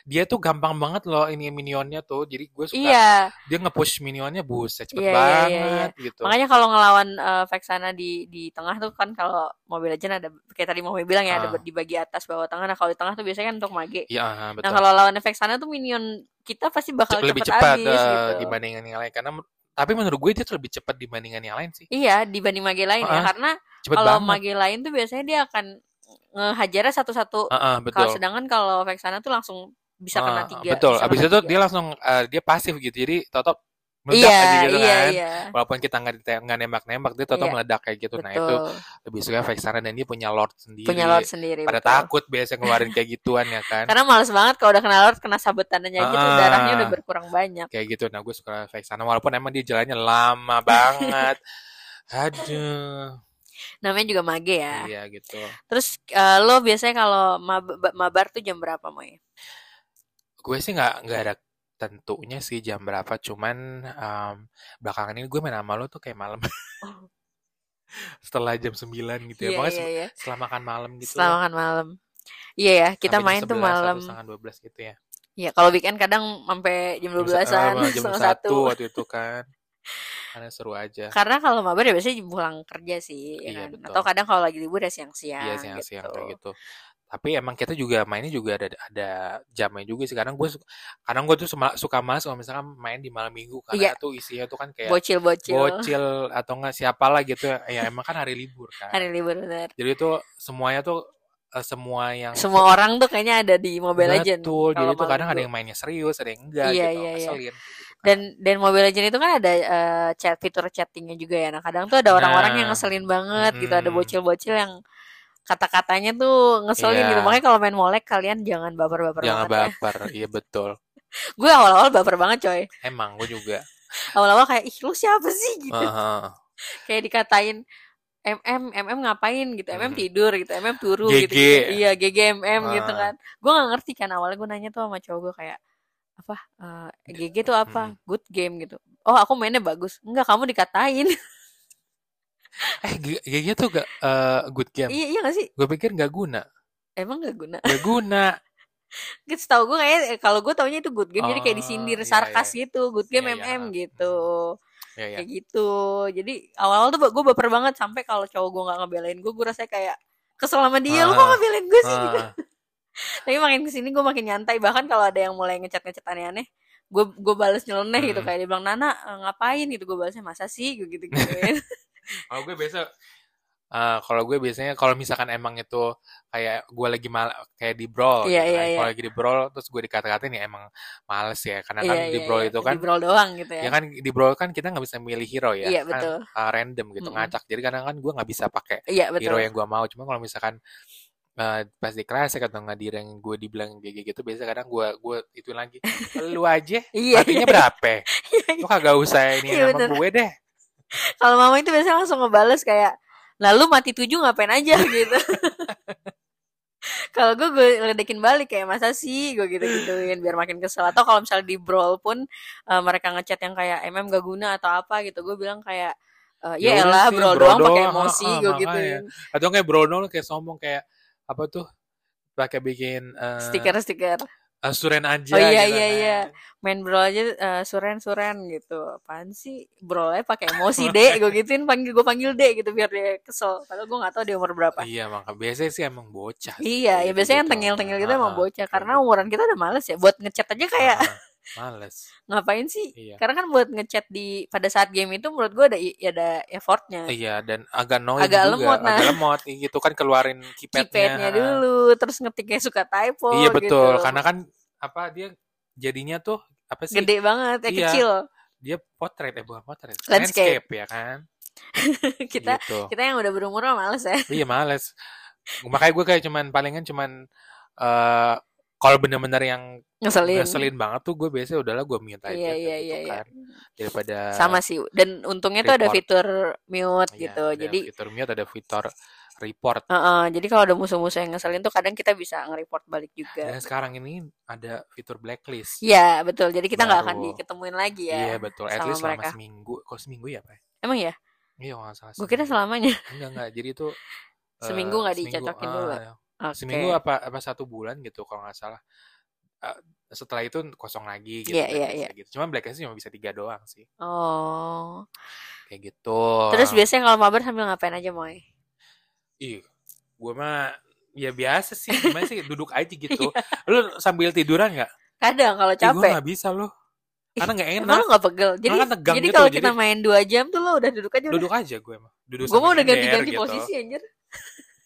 B: dia tuh gampang banget loh ini minionnya tuh jadi gue suka
A: Iya,
B: dia nge-push minionnya buset cepet
A: Iya, iya, iya,
B: banget
A: iya.
B: gitu
A: makanya kalau ngelawan eh, Vexana di di tengah tuh kan kalau Mobile Legend ada kayak tadi mau bilang ya ada
B: Ah.
A: di bagi atas bawah tengah. Nah, kalau di tengah tuh biasanya kan untuk mage.
B: Iya, ah, betul
A: Nah, kalau lawan Vexana tuh minion kita pasti bakal cepet
B: Cep- lebih cepat
A: habis
B: eh,
A: gitu.
B: dibandingkan yang lain karena men- tapi menurut gue dia tuh lebih cepat dibandingkan yang lain sih
A: Iya, dibanding mage lain ya
B: Ah.
A: karena
B: cepet
A: kalau
B: banget
A: mage lain tuh biasanya dia akan ngehajarnya satu-satu.
B: Ah, ah, betul
A: Kalau sedangkan kalau Vexana tuh langsung bisa kena
B: Ah,
A: tiga.
B: betul
A: bisa
B: abis
A: kena
B: itu
A: tiga.
B: dia langsung eh, dia pasif gitu jadi totop meledak
A: Iya,
B: aja gitu
A: iya,
B: kan
A: iya.
B: walaupun kita nggak dite- nggak nembak nembak dia totop
A: Iya.
B: meledak kayak gitu nah itu
A: Betul.
B: lebih suka Vexana dan dia punya lord sendiri
A: Punya lord sendiri.
B: pada
A: betul.
B: takut biasanya ngeluarin kayak gituan ya kan
A: Karena males banget kalau udah kena lord kena sabetannya gitu
B: Ah.
A: darahnya udah berkurang banyak.
B: kayak gitu nah gue suka Vexana walaupun emang dia jalannya lama banget aduh
A: Namanya juga mage ya.
B: iya gitu
A: Terus eh, lo biasanya kalau mab- mabar tuh jam berapa, Moy?
B: gue sih nggak nggak ada tentunya sih jam berapa cuman em, belakangan ini gue main sama lo tuh kayak malam setelah jam 9 gitu ya
A: Iya,
B: pokoknya
A: iya,
B: se-
A: iya.
B: setelah makan malam gitu
A: Setelah
B: lah.
A: makan malam. Iya ya, kita
B: Sampai jam
A: main tuh
B: 11, satu
A: malam.
B: setengah 12 gitu ya
A: Ya, kalau weekend kadang sampai jam
B: Jam se-
A: 12-an,
B: eh, jam
A: setengah
B: satu
A: satu.
B: waktu itu kan karena seru aja
A: Karena kalau mabar ya biasanya pulang kerja sih, ya
B: Iya,
A: kan?
B: betul.
A: Atau kadang kalau lagi libur ya siang-siang.
B: Iya siang-siang
A: gitu.
B: kayak gitu. Tapi emang kita juga mainnya juga ada ada jamnya juga sih. Kadang gue su- kadang gue tuh sema- suka males kalau misalkan main di malam minggu
A: Iya.
B: karena tuh isinya tuh kan kayak
A: Bocil-bocil.
B: bocil atau enggak siapalah gitu. Ya emang kan hari libur kan.
A: Hari libur bener.
B: Jadi tuh semuanya tuh eh, semua yang
A: Semua orang tuh kayaknya ada di Mobile Legends.
B: betul. Jadi
A: kalau malam
B: tuh kadang ada
A: minggu.
B: yang mainnya serius, ada yang
A: Iya,
B: enggak gitu.
A: iya, iya.
B: Ngeselin kayak gitu kan.
A: Dan dan Mobile Legends itu kan ada eh, chat fitur chattingnya juga ya. Nah kadang tuh ada orang-orang yang
B: Nah. Hmm.
A: ngeselin banget gitu. Ada
B: Mm-mm.
A: bocil-bocil yang kata-katanya tuh ngeselin
B: Iya.
A: gitu. Makanya kalau main molek kalian jangan baper-baper
B: Jangan
A: banget ya.
B: baper. Iya betul.
A: Gue awal-awal baper banget coy.
B: Emang gue juga.
A: Awal-awal kayak ih lu siapa sih gitu.
B: Heeh.
A: Kayak dikatain MM MM ngapain gitu. MM
B: Mhm.
A: tidur gitu. MM turu
B: GG.
A: gitu. Iya GG MM gitu kan.
B: Ah.
A: Gue gak ngerti kan awalnya gue nanya tuh sama cowok gue kayak apa eh, GG tuh
B: Hmm.
A: apa? Good game gitu. Oh aku mainnya bagus. Enggak kamu dikatain.
B: Eh, G- GG tuh gak eh, good game.
A: Iya iya gak sih?
B: Gue pikir nggak guna,
A: Emang gak guna.
B: nggak guna.
A: Gitu tahu gue kayak eh, kalau gue taunya itu good game jadi kayak
B: Oh,
A: disindir
B: iya,
A: sarkas
B: iya.
A: gitu, good game
B: Iya, iya.
A: MM gitu.
B: Ya ya.
A: Kayak gitu. Jadi awal-awal tuh gue baper banget sampai kalau cowok gue nggak ngebelain gue, gue rasanya kayak kesel sama dia, lu kok
B: Ah,
A: ngebelain gue sih? gitu.
B: Ah,
A: Tapi makin kesini gue makin nyantai. Bahkan kalau ada yang mulai ngecat-ngecat aneh-aneh, gue gue balas nyeleneh gitu
B: Hmm.
A: kayak dia bilang Nana eh, ngapain gitu gue balasnya masa sih gue gitu gituin
B: kalau gue biasa Ah, kalau gue biasanya kalau misalkan emang itu kayak gue lagi mal kayak di brawl
A: Iya, iya,
B: gitu kan.
A: iya.
B: Kalau lagi di brawl terus gue dikata-katain ya emang males ya.
A: Iya,
B: Karena kan di brawl itu kan
A: di brawl doang gitu
B: Ya
A: ya
B: kan di brawl kan kita nggak bisa milih hero ya,
A: Iya,
B: kan
A: betul.
B: uh, random gitu
A: Mm-mm.
B: ngacak. Jadi kadang kan gue nggak bisa pakai
A: iya betul
B: hero yang gue mau. Cuma kalau misalkan uh, pas di Classic atau nggak di rank gue dibilang GG gitu, biasanya kadang gue gue itu lagi lu aja
A: iya iya,
B: matinya berapa?
A: iya,
B: Lu kagak usah ini
A: Iya,
B: sama
A: bener.
B: gue deh.
A: kalau mama itu biasanya langsung ngebales kayak lalu mati tujuh ngapain aja gitu kalau gue gue ledekin balik kayak masa sih gue gitu gituin biar makin kesel atau kalau misalnya di brawl pun eh, mereka ngechat yang kayak mm gak guna atau apa gitu gue bilang kayak eh, ya
B: Ya udah
A: elah
B: sih,
A: brawl
B: brawl
A: doang pakai
B: doang,
A: emosi gitu.
B: ha-ha,
A: gue
B: makanya.
A: gituin
B: Atau kayak brawl doang, lu kayak sombong kayak apa tuh? Pakai bikin uh,
A: stiker stiker
B: uh, suren
A: Oh,
B: aja
A: iya,
B: gitu
A: iya,
B: kan.
A: iya. main brawl aja eh, suren suren gitu apaan sih brawlnya pakai emosi deh gue gituin panggil gue panggil deh gitu biar dia kesel padahal gue nggak tahu dia umur berapa
B: Iya, maka biasanya sih emang bocah. sih
A: Iya,
B: kayak
A: ya biasanya yang
B: gitu-gitu.
A: tengil-tengil gitu
B: Ha-ha,
A: emang bocah
B: kayak
A: karena
B: gitu.
A: umuran kita udah males ya buat ngechat aja kayak
B: Ah, males.
A: ngapain sih?
B: Iya.
A: Karena kan buat ngechat di pada saat game itu menurut gua ada i- ya ada effortnya.
B: Iya, dan agak noise
A: Agak
B: juga,
A: lemot, nah.
B: agak lemot gitu kan keluarin keypadnya.
A: Keypadnya
B: ha-ha.
A: dulu, terus ngetiknya suka typo
B: Iya betul,
A: gitu.
B: karena kan apa dia jadinya tuh apa sih?
A: Gede banget, ya
B: Iya.
A: kecil.
B: Dia portrait eh bukan portrait,
A: Landscape.
B: landscape ya kan?
A: kita
B: Gitu.
A: kita yang udah berumur mah males ya.
B: Iya males. Makanya gue kayak cuman palingan cuman eh kalau bener-bener yang
A: Ngeselin.
B: ngeselin banget tuh gue biasanya udahlah gue mute aja
A: Iya, iya,
B: kayak gitu
A: iya, iya.
B: kan daripada iya,
A: Sama sih. Dan untungnya tuh ada
B: Report.
A: fitur mute
B: Iya,
A: gitu.
B: ada
A: Jadi
B: fitur mute ada fitur report
A: Heeh, jadi kalau ada musuh-musuh yang ngeselin tuh kadang kita bisa nge-report balik juga.
B: dan sekarang ini ada fitur blacklist
A: Iya, betul. Jadi kita nggak akan
B: Baru.
A: diketemuin lagi ya.
B: Iya betul, at
A: sama
B: least selama
A: mereka.
B: seminggu. Kok seminggu ya pak?
A: Emang ya?
B: Iya kalau nggak salah.
A: Gue kira
B: seminggu.
A: selamanya.
B: Enggak enggak. Jadi itu eh,
A: Seminggu nggak
B: seminggu,
A: dicocokin
B: ah,
A: dulu. Oke.
B: Seminggu apa apa satu bulan gitu kalau nggak salah. eh, setelah itu kosong lagi gitu.
A: Iya, iya,
B: blacklist
A: iya.
B: kayak gitu. Cuman blacklist cuma bisa tiga doang sih.
A: Oh.
B: Kayak gitu.
A: Terus biasanya kalau mabar sambil ngapain aja, Moy?
B: Ih, gue mah ya biasa sih. Gimana sih duduk aja gitu. lu sambil tiduran nggak?
A: Kadang kalau
B: Ih, gue
A: Iya. capek.
B: nggak bisa loh. Karena nggak enak.
A: Emang lo gak pegel? Jadi,
B: Malah tegang
A: jadi
B: gitu,
A: kalau
B: jadi-
A: kita main 2 jam tuh lo udah duduk aja udah.
B: Duduk aja gue mah. Duduk
A: Gue mau
B: sambil
A: udah
B: nyender
A: ganti-ganti
B: gitu.
A: posisi anjir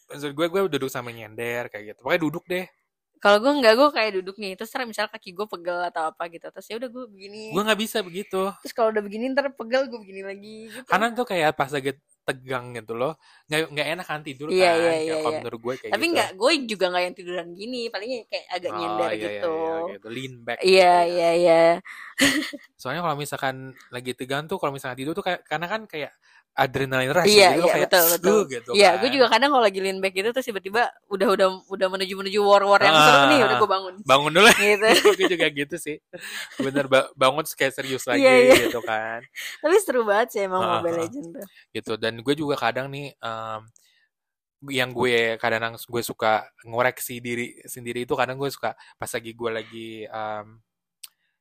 B: Maksud gue gue duduk sama nyender kayak gitu. Pokoknya duduk deh.
A: Iya. Kalau gue nggak, gue kayak duduk nih Terus ntar misalnya kaki gue pegel atau apa gitu Terus ya udah gue begini
B: Gue nggak bisa begitu.
A: Terus kalau udah begini ntar pegel gue begini lagi gitu
B: Karena tuh kayak pas lagi tegang gitu loh. Nggak nggak enak kan tidur
A: Iya,
B: kan.
A: iya,
B: Kayak
A: iya,
B: kalau
A: iya.
B: menurut gue kayak
A: Tapi
B: gitu.
A: nggak, gue juga nggak yang tiduran gini Palingnya kayak agak
B: Oh,
A: nyender
B: iya, iya,
A: gitu
B: iya, gitu. Lean back. gitu
A: Iya,
B: ya.
A: iya, iya
B: Soalnya kalau misalkan lagi tegang tuh, kalau misalkan tidur tuh kayak, karena kan kayak adrenalin rush
A: Iya,
B: gitu, lo
A: iya,
B: kayak
A: betul,
B: "Duh,"
A: betul.
B: gitu
A: Iya, gue
B: kan.
A: juga kadang kalau lagi lean back gitu Terus tiba-tiba udah udah udah menuju-menuju war-war yang seru nih
B: Ah.
A: Udah gue bangun
B: bangun dulu.
A: gitu
B: gue juga gitu sih. Bener ba- bangun terus kayak serius lagi
A: Iya, iya.
B: gitu kan.
A: Tapi seru banget sih emang
B: Ah, ah.
A: Mobile Legends tuh
B: Gitu dan gue juga kadang nih em, yang gue kadang gue suka ngoreksi diri sendiri itu kadang gue suka pas lagi gue lagi em,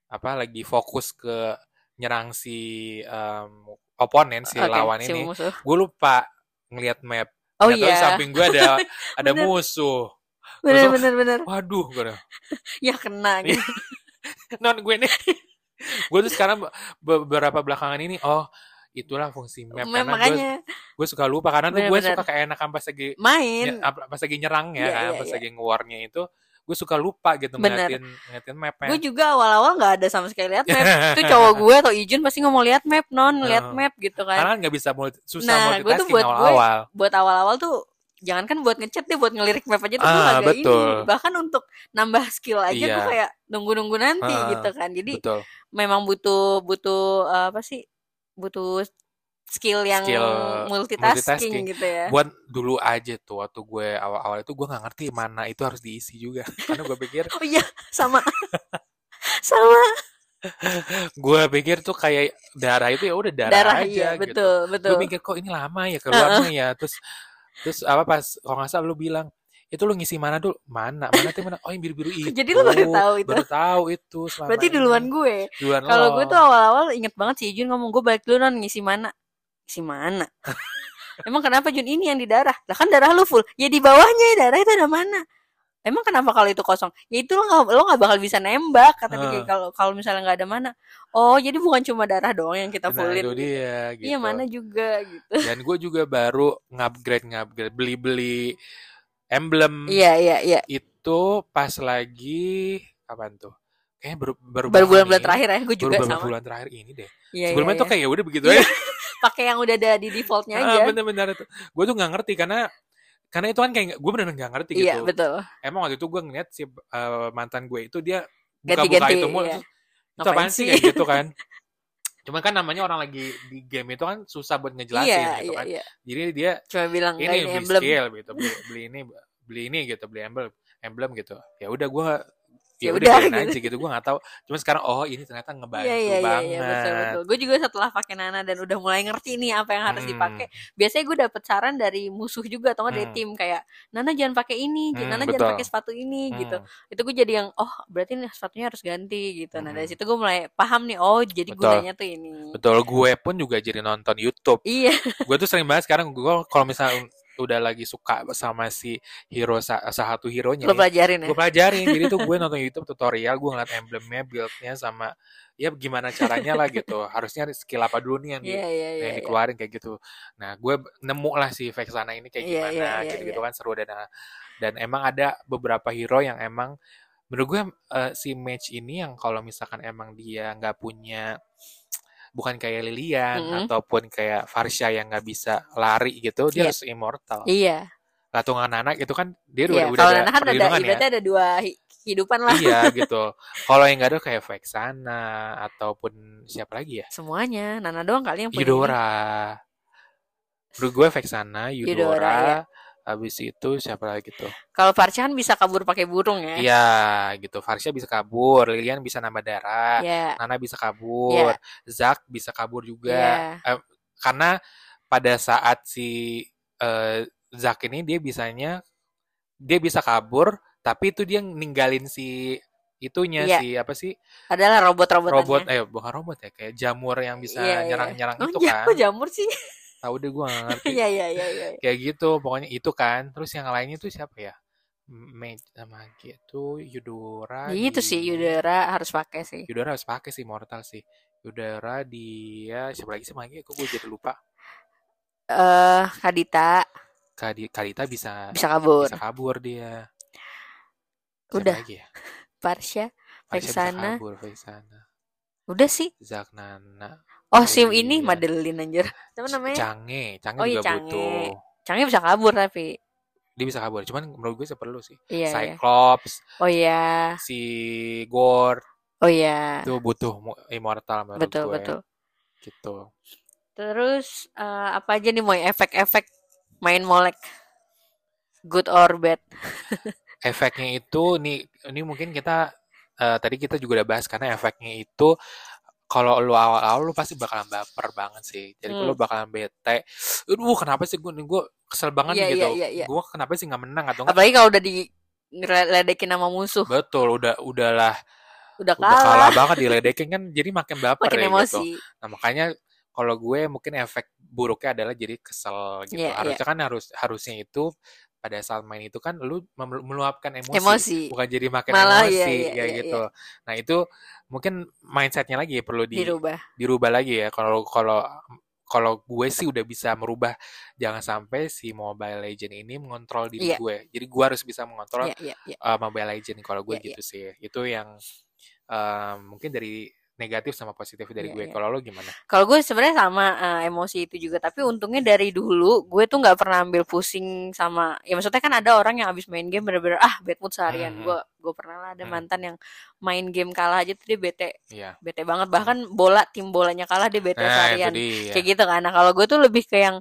B: apa lagi fokus ke nyerang si em, oponen si
A: Oke,
B: lawan
A: si
B: ini
A: musuh.
B: gue lupa ngelihat map
A: Oh
B: Nggak tahu di
A: iya,
B: samping gue ada ada
A: Bener.
B: musuh
A: bener
B: Terus-
A: bener bener.
B: waduh gue udah,
A: Ya kena gitu.
B: non gue nih gue tuh sekarang be- beberapa belakangan ini oh itulah fungsi
A: Mem-
B: map karena gue
A: makanya
B: gue suka lupa karena tuh gue
A: Bener-bener.
B: suka keenakan pas lagi nye-
A: main
B: Iya, apa- pas lagi nyerangnya
A: Iya,
B: kan
A: iya,
B: pas
A: iya.
B: lagi ngeluarnya itu gue suka lupa gitu
A: Bener.
B: ngeliatin ngeliatin mapnya
A: gue juga awal-awal nggak ada sama sekali lihat map itu cowok gue atau Ijun pasti ngomong lihat map non lihat
B: Hmm.
A: map gitu
B: karena
A: kan
B: kan nggak bisa multi, susah
A: Nah, gue tuh
B: multitasking
A: buat gue-
B: awal-awal
A: buat awal-awal tuh jangan kan buat ngechat deh buat ngelirik map aja tuh gue
B: Ah,
A: agak
B: betul.
A: ini bahkan untuk nambah skill aja gue
B: Iya.
A: kayak nunggu-nunggu nanti
B: Ah,
A: gitu kan jadi
B: betul
A: memang butuh butuh eh, apa sih butuh skill yang
B: Skill multitasking.
A: multitasking, gitu ya
B: buat dulu aja tuh waktu gue awal-awal itu gue nggak ngerti mana itu harus diisi juga karena gue pikir
A: oh iya sama sama
B: gue pikir tuh kayak darah itu ya udah darah,
A: darah,
B: aja
A: iya
B: gitu
A: betul betul
B: gue mikir kok ini lama ya keluarnya ya terus terus apa pas kalau nggak salah lu bilang itu lu ngisi mana dulu mana mana tuh mana oh yang biru biru itu
A: Jadi lu baru tahu itu.
B: gitu. baru tahu itu selama
A: berarti
B: ini.
A: duluan gue
B: duluan
A: kalau
B: lo.
A: gue tuh awal-awal inget banget si Jun ngomong gue balik dulu non ngisi mana ngisi mana emang kenapa Jun ini yang di darah lah kan darah lu full ya di bawahnya ya darah itu ada mana emang kenapa kalau itu kosong ya itu lo nggak lo nggak bakal bisa nembak kata dia
B: Heeh.
A: kalau kalau misalnya nggak ada mana oh jadi bukan cuma darah doang yang kita
B: nah,
A: fullin
B: itu
A: gitu.
B: dia gitu
A: iya mana juga gitu
B: dan gue juga baru ngupgrade ngupgrade beli beli emblem
A: iya iya iya
B: itu pas lagi kapan tuh kayaknya baru baru
A: baru
B: belakangan
A: bulan-bulan
B: ini,
A: terakhir ya gue
B: baru
A: juga
B: beberapa
A: sama
B: bulan terakhir ini deh
A: iya,
B: sebelumnya
A: iya,
B: tuh kayak ya udah begitu
A: Iya,
B: aja
A: iya. pakai yang udah ada di defaultnya
B: Ah,
A: aja
B: bener-bener gue tuh nggak ngerti karena karena itu kan kayak gue bener nggak ngerti
A: iya
B: gitu
A: betul
B: emang waktu itu gue ngeliat si eh, mantan gue itu dia buka-buka
A: ganti-ganti
B: itu mulu
A: iya.
B: terus, itu apaan
A: Ngapain
B: sih
A: sih?
B: kayak gitu kan cuman kan namanya orang lagi di game itu kan susah buat ngejelasin
A: iya
B: gitu
A: iya
B: kan
A: iya
B: jadi dia
A: cuma bilang
B: ini
A: "Nah,
B: beli
A: emblem
B: skill gitu beli, beli ini beli ini gitu beli emblem emblem gitu ya udah gue ya
A: Ya
B: udah
A: udah,
B: biarin
A: gitu.
B: aja gitu gue nggak tahu cuman sekarang oh ini ternyata ngebantu
A: Iya iya iya
B: banget
A: iya betul betul. Gue juga setelah pakai Nana dan udah mulai ngerti nih apa yang harus
B: Hmm.
A: dipakai. Biasanya gue dapet saran dari musuh juga atau nggak dari
B: Hmm.
A: tim kayak Nana jangan pakai ini,
B: Hmm,
A: Nana
B: betul.
A: jangan pakai sepatu ini gitu.
B: Hmm,
A: Itu gue jadi yang oh berarti nih sepatunya harus ganti gitu. Nah dari
B: Mm-mm.
A: situ gue mulai paham nih oh jadi
B: Hmm. Betul.
A: gunanya tuh ini.
B: betul gue pun juga jadi nonton YouTube
A: Iya
B: gue tuh sering banget sekarang gue kalau misalnya udah lagi suka sama si hero sa- salah satu hero nya
A: lo pelajarin ya.
B: gue pelajarin jadi tuh gue nonton YouTube tutorial gue ngeliat emblemnya buildnya sama ya gimana caranya lah gitu harusnya skill apa dulu nih yang di
A: Iya iya iya.
B: yang
A: iya.
B: dikeluarin kayak gitu. Nah, gue b- nemu lah si Vexana ini kayak
A: Iya,
B: gimana
A: iya, iya,
B: gitu-gitu kan seru dan dan emang ada beberapa hero yang emang menurut gue eh, si match ini yang kalau misalkan emang dia nggak punya bukan kayak Lilian
A: Mm-mm.
B: ataupun kayak Farsha yang nggak bisa lari gitu,
A: Iya.
B: dia harus immortal.
A: Iya.
B: Latungan anak itu kan dia
A: Iya.
B: udah udah
A: Kalau
B: ada
A: Nana kan ada
B: perlindungan ya.
A: ibaratnya ada dua hi- kehidupan lah
B: Iya gitu. Kalau yang nggak ada kayak Vexana ataupun siapa lagi ya?
A: semuanya. Nana doang kali yang punya ini.
B: Yudora. Menurut gue Vexana, Yudora,
A: Yudora, ya.
B: habis itu siapa lagi tuh?
A: Kalau Farsha kan bisa kabur pakai burung ya.
B: Iya, gitu. Farsha bisa kabur, Lilian bisa nambah darah,
A: Iya.
B: Nana bisa kabur, Zack bisa kabur
A: iya.
B: juga. Eh, karena pada saat si eh, Zack ini dia bisanya dia bisa kabur, tapi itu dia ninggalin si itunya
A: Iya.
B: sih apa sih
A: Adalah robot-robotannya.
B: robot eh bukan robot ya kayak jamur yang bisa
A: Iya, iya.
B: nyerang-nyerang
A: Oh,
B: itu
A: iya,
B: kan
A: kok jamur sih?
B: tahu deh gue nggak ngerti
A: Iya, iya, iya, iya.
B: kayak gitu pokoknya itu kan terus yang lainnya tuh siapa ya Mage sama gitu
A: Ya Itu
B: Yudora di-
A: Gitu sih Yudara harus pakai sih.
B: Yudora harus pakai sih mortal sih Yudora dia siapa lagi sih Mage kok gue jadi lupa
A: Eh, Kadita
B: Kadi Kadita bisa
A: bisa kabur.
B: Iya, bisa kabur dia Siapa
A: Udah,
B: lagi ya?
A: Parsha.
B: Faisal bisa
A: Faisana.
B: kabur Faisana
A: Udah sih.
B: Zagnana
A: Oh, sim ini
B: Iya.
A: Madeline anjir. Siapa
B: C-
A: namanya?
B: Cange Cange
A: Oh, iya,
B: juga
A: Cange.
B: butuh
A: Canggih bisa kabur tapi.
B: dia bisa kabur cuman menurut gue sih perlu sih
A: Iya, iya.
B: Cyclops
A: Oh iya.
B: si Gord
A: Oh iya.
B: itu butuh mu- immortal menurut
A: Betul,
B: gue
A: betul.
B: gitu
A: Terus eh, apa aja nih Moy efek-efek main molek? Good or bad?
B: efeknya itu nih ini mungkin kita eh, tadi kita juga udah bahas karena efeknya itu kalau lu awal-awal lu pasti bakalan baper banget sih jadi
A: Hmm.
B: lu bakalan bete aduh kenapa sih gue gue kesel banget
A: Iya,
B: nih gitu
A: iya, iya, iya.
B: gue kenapa sih nggak menang atau nggak
A: Apalagi kalau udah diledekin sama musuh,
B: betul udah udahlah
A: udah
B: udah
A: kalah,
B: kalah banget diledekin kan jadi makin baper
A: makin
B: ya gitu
A: emosi.
B: Nah, makanya kalau gue mungkin efek buruknya adalah jadi kesel gitu.
A: Iya,
B: harusnya kan harus harusnya itu pada saat main itu kan lu mem- meluapkan emosi,
A: Emosi.
B: bukan jadi makin
A: Malah,
B: emosi
A: iya, iya,
B: kayak
A: iya,
B: gitu. Nah, itu mungkin mindsetnya lagi ya, perlu di,
A: Dirubah.
B: dirubah lagi ya. Kalau kalau kalau gue sih udah bisa merubah jangan sampai si Mobile Legend ini mengontrol diri
A: Iya.
B: gue. Jadi gue harus bisa mengontrol
A: Iya, iya, iya.
B: uh, Mobile Legend kalau gue
A: Iya,
B: gitu sih. Itu yang uh, mungkin dari negatif sama positif
A: Iya,
B: dari gue.
A: iya.
B: Kalau lo gimana?
A: Kalau gue sebenarnya sama eh, emosi itu juga, tapi untungnya dari dulu gue tuh nggak pernah ambil pusing sama. Ya maksudnya kan ada orang yang abis main game bener-bener ah bad mood seharian.
B: Mhm.
A: Gue gue pernah lah ada
B: Mhm.
A: mantan yang main game kalah aja tuh dia bete
B: Iya.
A: bete banget bahkan bola tim bolanya kalah dia bete
B: Nah, itu
A: seharian.
B: dia.
A: Kayak gitu kan. Nah, kalau gue tuh lebih ke yang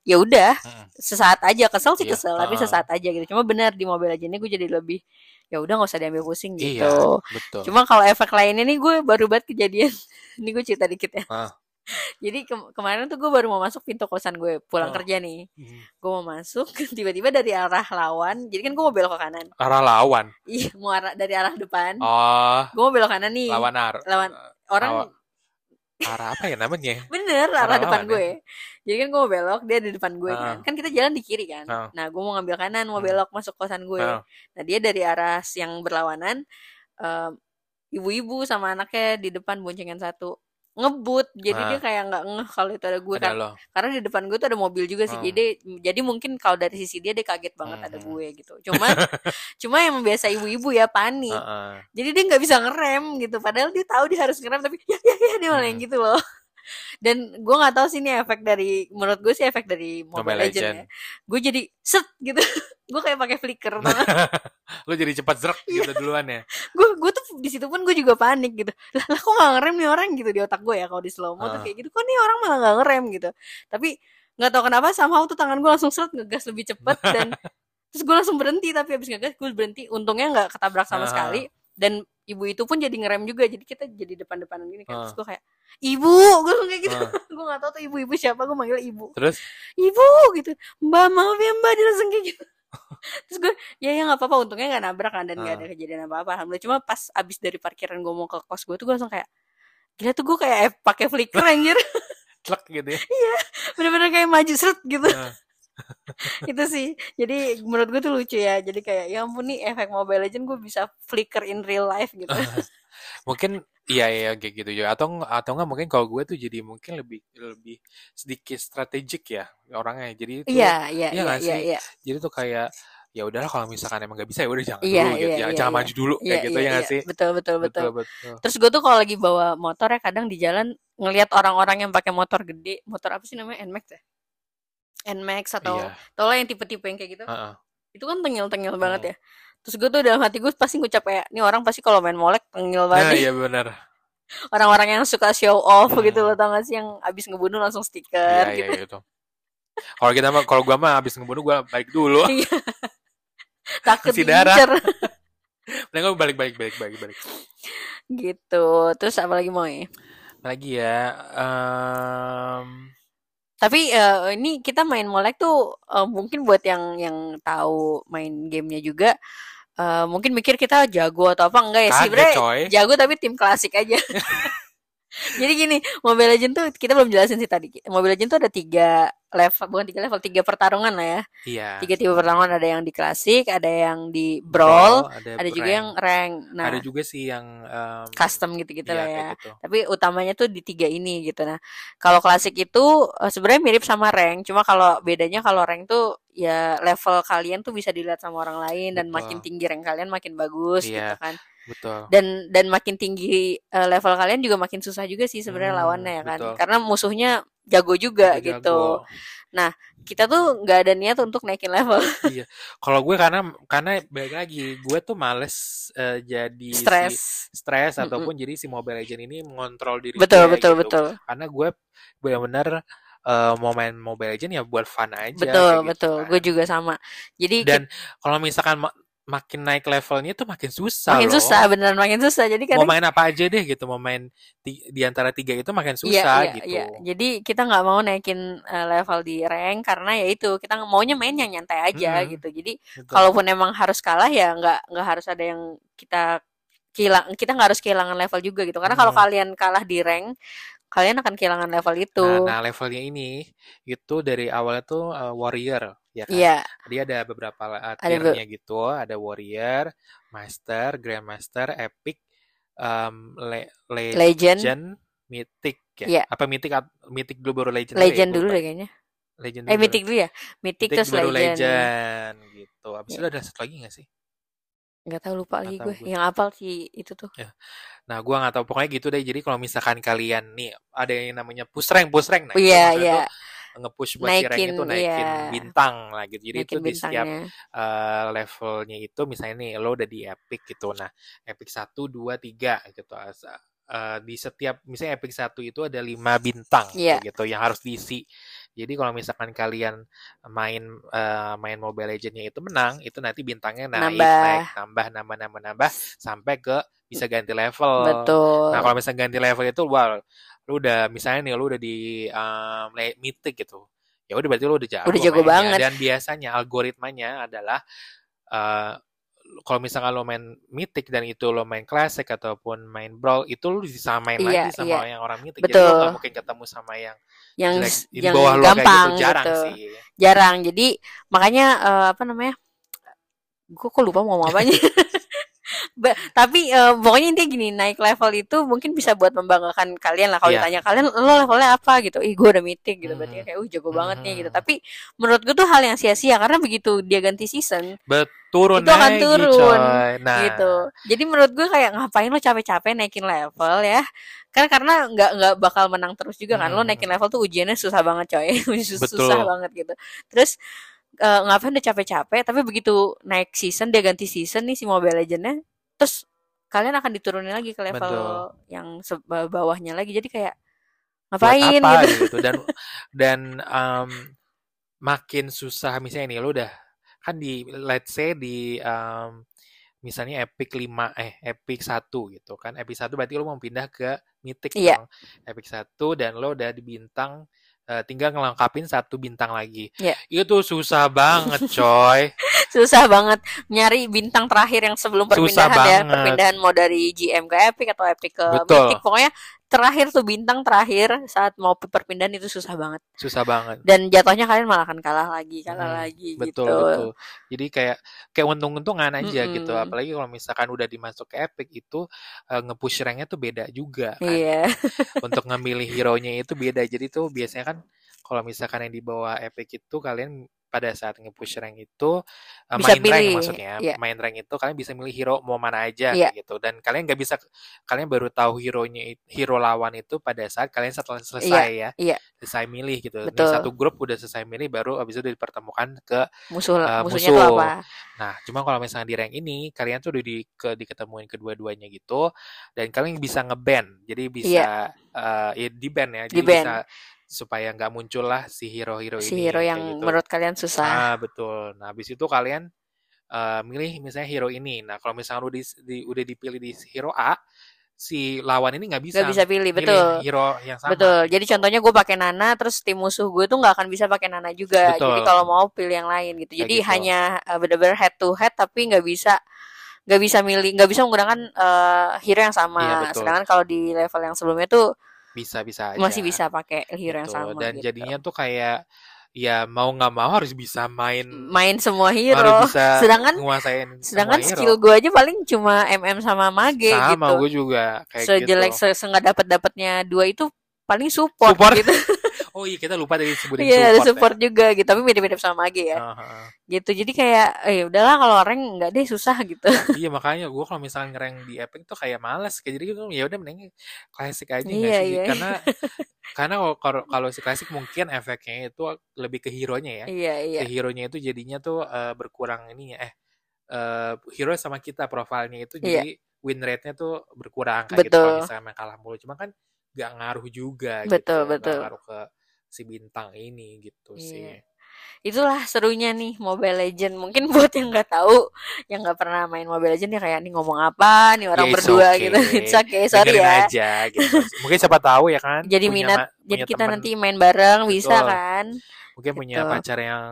A: ya udah
B: Mm-mm.
A: sesaat aja kesel sih
B: Hmm. Iya,
A: kesel tapi
B: heeh.
A: sesaat aja gitu cuma benar di mobile aja ini gue jadi lebih ya udah nggak usah diambil pusing gitu
B: Iya, betul.
A: cuma kalau efek lainnya nih gue baru banget kejadian ini gue cerita dikit ya
B: Heeh.
A: jadi ke- kemarin tuh gue baru mau masuk pintu kosan gue pulang
B: Oh.
A: kerja nih
B: Mm.
A: gue mau masuk tiba-tiba dari arah lawan jadi kan gue mau belok ke kanan
B: Arah lawan.
A: iya mau arah dari arah depan
B: Oh,
A: gue mau belok kanan nih
B: lawan
A: Hmm.
B: ar.
A: Iya. Lawan- orang
B: lawan. Arah apa ya namanya?
A: Bener, arah
B: Orang
A: depan
B: lawan,
A: gue. Jadi kan gue mau belok, dia di depan gue kan.
B: ya? Ah.
A: Kan kita jalan di kiri kan.
B: Ah.
A: Nah, gue mau ngambil kanan, mau
B: Hmm.
A: belok masuk kosan gue.
B: Ah.
A: Nah, dia dari arah yang berlawanan em, ibu-ibu sama anaknya di depan boncengan satu ngebut. Jadi
B: Ah.
A: dia kayak nggak ngeh kalau itu ada gue
B: Ada
A: kan.
B: lo.
A: Karena di depan gue tuh ada mobil juga sih.
B: Ah.
A: Jadi jadi mungkin kalau dari sisi dia dia kaget banget ada
B: Mhm.
A: gue gitu. Cuman cuma yang biasa ibu-ibu ya panik.
B: Heeh.
A: Jadi dia nggak bisa ngerem gitu. Padahal dia tahu dia harus ngerem tapi ya ya ya dia malah yang
B: Hmm.
A: gitu loh. Dan gue nggak tahu sih ini efek dari menurut gue sih efek dari Mobile,
B: Mobile
A: Legends
B: Legend.
A: ya. Gue jadi set gitu. gue kayak pakai flicker banget.
B: Lo jadi cepat zrek
A: Iya.
B: gitu duluan ya.
A: Gue gue tuh di situ pun gue juga panik gitu. Lah, lah kok nggak ngerem nih orang gitu di otak gue ya kalau di slow mo tuh
B: Ah.
A: kayak gitu. Kok nih orang malah nggak ngerem gitu. Tapi nggak tahu kenapa somehow tuh tangan gue langsung set ngegas lebih cepet dan terus gue langsung berhenti tapi habis ngegas gue berhenti. Untungnya nggak ketabrak sama
B: Ah.
A: sekali dan ibu itu pun jadi ngerem juga jadi kita jadi depan-depanan gini kan terus
B: Ah.
A: gue kayak ibu gue langsung kayak gitu
B: Ah.
A: gue nggak tahu tuh ibu-ibu siapa gue manggil ibu
B: Terus
A: ibu gitu mbak maaf ya mbak dia langsung kayak gitu terus gue ya ya nggak apa-apa untungnya nggak nabrak kan dan
B: Ah.
A: nggak ada kejadian apa-apa alhamdulillah cuma pas abis dari parkiran gue mau ke kos gue tuh gue langsung kayak gila tuh gue kayak eh, pakai flicker anjir
B: clek gitu ya.
A: bener-bener kayak maju seret gitu
B: Ah.
A: itu sih jadi menurut gue tuh lucu ya jadi kayak ya ampun nih efek mobile legend gue bisa flicker in real life gitu
B: Ah, mungkin iya iya kayak gitu ya atau ng- atau enggak mungkin kalau gue tuh jadi mungkin lebih lebih sedikit strategik ya orangnya jadi itu
A: iya iya
B: iya
A: iya
B: nggak
A: iya
B: sih?
A: iya
B: jadi tuh kayak ya udahlah kalau misalkan emang nggak bisa ya udah jangan
A: Iya,
B: dulu
A: iya,
B: gitu jangan,
A: iya,
B: jangan
A: iya.
B: maju dulu
A: iya
B: kayak gitu
A: iya,
B: ya nggak
A: iya.
B: sih
A: betul betul betul
B: betul betul
A: Terus gue tuh kalau lagi bawa motor ya kadang di jalan ngelihat orang-orang yang pakai motor gede, motor apa sih namanya Nmax ya? Nmax atau
B: iya
A: tau lah yang tipe-tipe yang kayak gitu.
B: heeh.
A: Itu kan tengil-tengil banget
B: Hmm.
A: ya. Terus gue tuh dalam hati gue pasti ngucap kayak, nih orang pasti kalau main molek tengil banget.
B: nah
A: nih."
B: iya benar
A: Orang-orang yang suka show off
B: Hmm.
A: gitu loh, tau gak sih yang abis ngebunuh langsung
B: iya
A: stiker
B: iya
A: gitu.
B: gitu kalau kita mah kalau gua mah habis ngebunuh gua balik dulu
A: Takut
B: Kasih darah.
A: diincer
B: nah gua balik balik balik balik balik
A: gitu. Terus apa lagi mau ya?
B: Apa lagi ya Em,
A: Tapi eh, ini kita main molek tuh eh, mungkin buat yang yang tahu main gamenya juga eh, mungkin mikir kita jago atau apa enggak ya
B: Kaget,
A: sebenarnya
B: coy.
A: jago tapi tim klasik aja jadi gini Mobile Legend tuh kita belum jelasin sih tadi Mobile Legend tuh ada tiga level bukan tiga level tiga pertarungan lah ya
B: Iya.
A: tiga tipe pertarungan ada yang di klasik ada yang di brawl, ada juga
B: rank.
A: yang rank nah
B: ada juga sih yang em,
A: custom gitu-gitu
B: iya,
A: lah
B: kayak
A: ya
B: gitu.
A: tapi utamanya tuh di tiga ini gitu nah kalau klasik itu eh, sebenarnya mirip sama rank cuma kalau bedanya kalau rank tuh ya level kalian tuh bisa dilihat sama orang lain dan
B: Betul.
A: makin tinggi rank kalian makin bagus
B: Iya.
A: gitu kan
B: Betul.
A: dan dan makin tinggi eh, level kalian juga makin susah juga sih sebenarnya
B: Hmm,
A: lawannya ya kan
B: betul.
A: karena musuhnya jago juga
B: Jago-jago.
A: gitu kita tuh nggak ada niat untuk naikin level
B: Iya Kalau gue karena karena balik lagi, gue tuh males eh, jadi si-
A: stres
B: stres
A: Mm-mm.
B: ataupun jadi si Mobile Legend ini mengontrol diri
A: betul
B: gue
A: betul
B: gitu.
A: betul
B: Karena gue benar-benar eh, mau main Mobile Legend ya buat fun aja
A: betul
B: kayak gitu
A: betul
B: kan.
A: gue juga sama jadi
B: Dan kalau misalkan ma- makin naik levelnya tuh makin susah
A: makin
B: loh.
A: susah beneran makin susah jadi
B: Mau
A: kadang
B: main apa aja deh gitu, mau main ti- di antara tiga itu makin
A: Iya,
B: susah gitu.
A: Jadi kita nggak mau naikin eh, level di rank karena ya itu kita nggak- maunya main yang nyantai aja
B: Mm-mm.
A: gitu. Jadi
B: Hmm. Betul.
A: kalaupun emang harus kalah ya nggak nggak harus ada yang kita kehilang kita nggak harus kehilangan level juga gitu. Karena kalau
B: Hmm.
A: kalian kalah di rank kalian akan kehilangan level itu.
B: Nah, nah levelnya ini itu dari awalnya tuh eh, warrior ya kan.
A: Iya,
B: Dia ada beberapa eh,
A: be-
B: tiernya gitu, ada warrior, master, grandmaster, epic, em, le- legend,
A: legend,
B: mythic ya.
A: Iya.
B: Apa mythic at- mythic dulu baru legend? kali ya?
A: legend
B: Gua
A: dulu
B: lupa.
A: deh kayaknya.
B: Legend
A: Eh
B: dulu.
A: mythic dulu ya.
B: Mythic
A: Mythic terus
B: baru
A: legend.
B: legend gitu. Abis itu
A: Iya.
B: ada satu lagi gak sih?
A: Nggak tahu lupa
B: Nggak
A: lagi
B: tahu
A: gue.
B: gue.
A: Yang apal sih itu tuh.
B: Nah, gua nggak tahu pokoknya gitu deh. Jadi kalau misalkan kalian nih ada yang namanya push rank, push rank. Nah, itu
A: Iya,
B: maksudnya
A: iya.
B: tuh nge-push buat si ranknya tuh
A: Naikin,
B: naikin
A: iya.
B: bintang lah gitu. Jadi itu
A: Naikin iya.
B: di setiap
A: bintangnya.
B: eh, levelnya itu misalnya nih lo udah di epic gitu. Nah, epic 1 2 3 gitu. As- eh, di setiap misalnya epic 1 itu ada 5 bintang
A: Iya.
B: kayak gitu yang harus diisi. Jadi kalau misalkan kalian main eh, main Mobile Legends-nya itu menang, itu nanti bintangnya
A: Nambah.
B: naik, naik, nambah, nambah, nambah, nambah sampai ke bisa ganti level.
A: Betul.
B: Nah, kalau misalnya ganti level itu wah lu udah misalnya nih lu udah di um, le- mythic gitu. Ya udah berarti lu udah jago
A: Udah jago
B: mainnya.
A: banget.
B: Dan biasanya algoritmanya adalah eh, kalau misalnya lo main mythic dan itu lo main classic ataupun main brawl itu lu disamain
A: Iya,
B: lagi sama yang orang mythic. Jadi lo
A: Betul.
B: nggak mungkin ketemu sama yang
A: yang
B: jelek
A: s-
B: di
A: yang
B: bawah lo kayak gitu
A: gampang
B: jarang
A: gitu.
B: sih.
A: Jarang. Jadi makanya eh, apa namanya? Gue kok lupa mau ngomong apanya. Ba- tapi eh, pokoknya intinya gini naik level itu mungkin bisa buat membanggakan kalian lah kalau
B: Iya.
A: ditanya kalian lo levelnya apa gitu ih gue udah meeting gitu berarti
B: Mhm.
A: kayak uh jago banget nih gitu
B: Mhm.
A: tapi menurut gue tuh hal yang sia-sia karena begitu dia ganti season
B: Beturun
A: Itu akan
B: lagi,
A: turun,
B: coy. Nah,
A: gitu jadi menurut gue kayak ngapain lo capek-capek naikin level ya kan karena nggak nggak bakal menang terus juga kan lo
B: Mhm.
A: naikin level tuh ujiannya susah banget coy Sus- susah
B: Betul.
A: banget gitu terus eh, ngapain udah capek-capek tapi begitu naik season dia ganti season nih si Mobile Legends-nya terus kalian akan diturunin lagi ke level
B: Betul.
A: yang se- bawahnya lagi jadi kayak
B: buat
A: ngapain
B: apa
A: gitu
B: gitu, dan dan em, makin susah misalnya nih lo udah kan di let's say di em, misalnya epic 5 eh epic 1 gitu kan epic 1 berarti lo mau pindah ke mythic
A: Iya.
B: dong epic 1 dan lo udah di bintang eh, tinggal ngelengkapin satu bintang lagi
A: Iya.
B: itu susah banget coy
A: susah banget nyari bintang terakhir yang sebelum
B: Susah
A: perpindahan ya
B: banget.
A: perpindahan mau dari GM ke Epic atau Epic ke
B: Betul.
A: Mythic pokoknya terakhir tuh bintang terakhir saat mau perpindahan itu susah banget
B: susah banget
A: dan jatuhnya kalian malah akan kalah lagi kalah
B: Mm,
A: lagi
B: betul
A: gitu
B: betul jadi kayak kayak untung-untungan aja gitu
A: Mm-mm.
B: apalagi kalau misalkan udah dimasuk ke epic itu eh, nge-push ranknya tuh beda juga kan
A: iya
B: untuk ngemilih hero nya itu beda jadi tuh biasanya kan kalau misalkan yang di bawah epic itu kalian pada saat nge-push rank itu eh,
A: Bisa
B: main rank
A: pilih,
B: maksudnya
A: iya.
B: main rank itu kalian bisa milih hero mau mana aja
A: Iya.
B: kayak gitu dan kalian nggak bisa kalian baru tahu hero nya hero lawan itu pada saat kalian setelah selesai ya
A: iya.
B: selesai milih gitu nih
A: Betul.
B: satu grup udah selesai milih baru abis itu dipertemukan ke
A: musuh
B: Eh,
A: musuhnya tuh
B: musuh.
A: apa
B: Nah, cuma kalau misalnya di rank ini, kalian tuh udah di, ke, diketemuin kedua-duanya gitu, dan kalian bisa nge-ban, jadi bisa eh, ya di-ban ya, jadi
A: Iya. Di-ban.
B: bisa supaya nggak muncul lah si hero-hero
A: si
B: ini
A: hero
B: kayak
A: yang
B: gitu.
A: menurut kalian susah
B: Ah, betul. Nah, habis itu kalian eh, milih misalnya hero ini. Nah, kalau misalnya udah, di- di- udah dipilih di hero A, si lawan ini nggak bisa,
A: nggak bisa pilih
B: milih
A: betul
B: hero yang sama.
A: Betul. Jadi
B: gitu.
A: contohnya gue pakai Nana, terus tim musuh gue tuh nggak akan bisa pakai Nana juga. Jadi
B: Betul.
A: kalau mau pilih yang lain gitu.
B: Kayak
A: Jadi
B: gitu.
A: hanya eh, bener-bener head to head, tapi nggak bisa nggak bisa milih nggak bisa menggunakan eh, hero yang sama
B: Iya, betul.
A: sedangkan kalau di level yang sebelumnya tuh
B: bisa bisa aja.
A: masih bisa pakai hero yang
B: Betul.
A: sama
B: dan
A: gitu.
B: jadinya tuh kayak ya mau nggak mau harus bisa main
A: main semua
B: harus
A: hero
B: bisa
A: sedangkan-
B: nguasain semua
A: Kan sedangkan
B: hero.
A: skill gue aja paling cuma mm sama mage
B: sama
A: gitu
B: gue juga kayak
A: sejelek
B: gitu
A: se nggak dapat dapatnya dua itu paling support,
B: Support.
A: gitu
B: oh iya kita lupa tadi sebutin
A: iya ada
B: support,
A: support juga gitu tapi mirip-mirip sama mage ya
B: ya. Heeh.
A: gitu jadi kayak eh udahlah kalau orang nggak deh susah gitu
B: iya makanya gue kalau misalnya ngereng di epic tuh kayak males kayak jadi gitu ya udah mending klasik aja nggak
A: Iya,
B: sih Ji?
A: iya.
B: karena karena kalau- kalau kalau si klasik mungkin efeknya itu lebih ke hero nya ya
A: iya iya
B: ke hero nya itu jadinya tuh eh, berkurang ininya eh eh, hero sama kita profilnya itu
A: Iya.
B: jadi win rate nya tuh berkurang kayak gitu kalau
A: Betul.
B: misalnya main kalah mulu cuma kan gak ngaruh juga
A: Betul,
B: gitu Nggak
A: betul.
B: ngaruh ke si bintang ini gitu sih
A: Iya. itulah serunya nih Mobile Legend mungkin buat yang nggak tahu yang nggak pernah main Mobile Legend ya kayak nih ngomong apa nih orang
B: Ya, it's
A: berdua
B: okay.
A: gitu it's okay sorry
B: Dengerin
A: ya
B: aja gitu mungkin siapa tahu ya kan
A: jadi
B: punya
A: minat
B: ma-
A: jadi
B: punya
A: kita
B: temen,
A: nanti main bareng bisa
B: Betul.
A: kan
B: mungkin punya
A: gitu.
B: pacar yang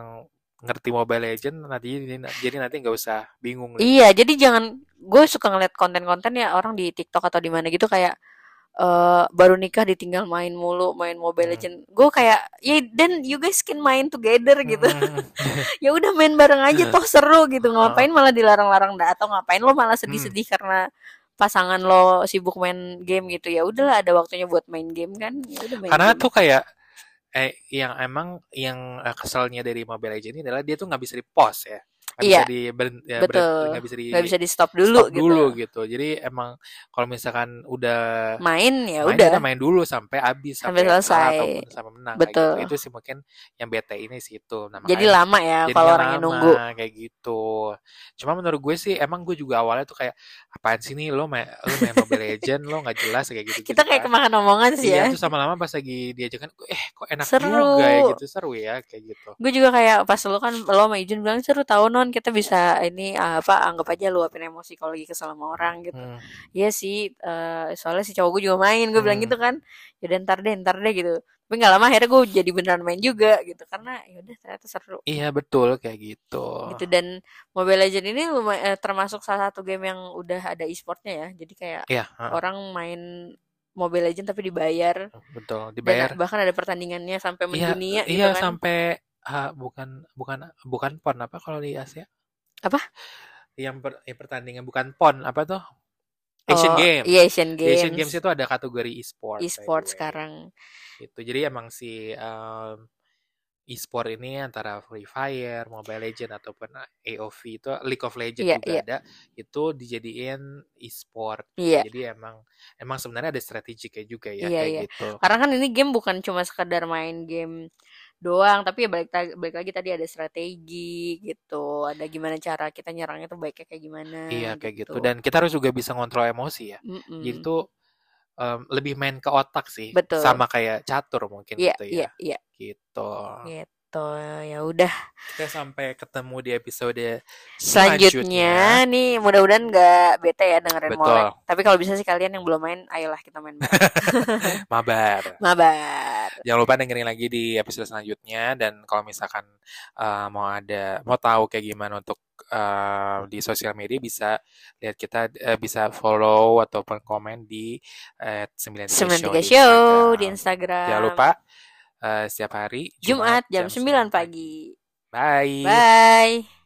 B: ngerti Mobile Legend nanti jadi- jadi nanti nggak usah bingung deh.
A: Iya, jadi jangan gue suka ngeliat konten-konten ya orang di TikTok atau di mana gitu kayak eh baru nikah ditinggal main mulu, main Mobile
B: Hmm.
A: Legend. Gue kayak, ya then you guys can main together gitu.
B: Mm,
A: ya udah main bareng aja toh seru gitu.
B: Iya. Heeh. Hmm.
A: Ngapain malah dilarang-larang dah atau ngapain lo malah sedih-sedih karena pasangan lo sibuk main game gitu. Ya udahlah ada waktunya buat main game kan. Ya udah main
B: karena
A: game.
B: tuh kayak eh yang emang yang eh, keselnya dari Mobile Legend ini adalah dia tuh nggak bisa di pause ya nggak
A: Iya.
B: bisa di ber- ya, ber-
A: Betul.
B: nggak bisa di
A: Gak bisa di stop dulu
B: stop
A: gitu.
B: dulu gitu jadi emang kalau misalkan udah
A: Main ya
B: main
A: udah.
B: kita main dulu sampai habis
A: Sampai
B: kalah
A: selesai.
B: ataupun sampai menang kayak
A: Betul.
B: gitu. itu sih mungkin yang bete ini sih itu nah,
A: Jadi
B: makanya
A: lama ya
B: jadinya
A: kalau orangnya
B: lama,
A: nunggu.
B: kayak gitu cuma menurut gue sih emang gue juga awalnya tuh kayak apaan sih nih lo main lo main Mobile Legend lo nggak jelas kayak gitu
A: Kita kayak kemakan omongan sih
B: iya
A: ya.
B: terus lama-lama pas lagi diajakan eh kok enak
A: Seru.
B: juga ya gitu seru ya kayak gitu
A: Gue juga kayak pas lu kan lo sama Ijun bilang seru tau non kita bisa ini ah, apa anggap aja luapin emosi kalau lagi kesel sama orang gitu.
B: Hmm.
A: Iya sih eh, soalnya si cowok gue juga main gue bilang
B: Hmm.
A: gitu kan. Ya udah, ntar deh ntar deh gitu. Tapi nggak lama akhirnya gue jadi beneran main juga gitu karena ya udah ternyata seru
B: iya betul kayak gitu
A: gitu dan Mobile Legend ini lumay- eh, termasuk salah satu game yang udah ada e-sportnya ya. Jadi kayak
B: iya heeh,
A: orang main Mobile Legend tapi dibayar
B: betul dibayar
A: Dan bahkan ada pertandingannya sampai
B: iya
A: mendunia gitu
B: iya
A: kan.
B: sampai ah, bukan bukan bukan pon apa kalau di Asia
A: Apa?
B: yang per- eh, pertandingan bukan pon apa tuh Asian
A: Oh,
B: Games
A: Iya, Asian
B: Di
A: Games.
B: Asian Games itu ada kategori e-sport by the
A: e-sport
B: way.
A: sekarang.
B: itu Gitu. jadi emang si em, e-sport ini antara Free Fire, Mobile Legend ataupun ah, AOV itu League of Legends
A: Iya,
B: juga
A: iya.
B: ada itu dijadiin e-sport.
A: Iya.
B: Jadi emang emang sebenarnya ada strategiknya juga ya
A: Iya,
B: kayak
A: iya.
B: gitu.
A: Karena kan ini game bukan cuma sekedar main game doang, tapi ya balik, ta- balik lagi tadi ada strategi gitu. Ada gimana cara kita nyerangnya tuh baiknya kayak gimana
B: Iya kayak
A: gitu.
B: gitu. Dan kita harus juga bisa ngontrol emosi ya.
A: Mm-mm.
B: Jadi tuh em, lebih main ke otak sih.
A: Betul.
B: Sama kayak catur mungkin
A: Iya,
B: gitu ya.
A: iya, iya.
B: Gitu.
A: Gitu. Ya udah.
B: Kita sampai ketemu di episode
A: Selanjutnya nih mudah-mudahan nggak bete ya dengerin
B: Betul.
A: Molek. Tapi kalau bisa sih kalian yang belum main, ayolah kita main bareng.
B: Mabar.
A: Mabar.
B: Jangan lupa dengerin lagi di episode selanjutnya dan kalau misalkan eh, mau ada mau tahu kayak gimana untuk eh, di sosial media bisa lihat kita eh, bisa follow ataupun komen di eh, 93 show,
A: 93
B: di
A: show
B: Instagram.
A: di Instagram.
B: Jangan lupa eh, setiap hari
A: Jumat jam 9
B: 9
A: pagi.
B: Bye.
A: Bye.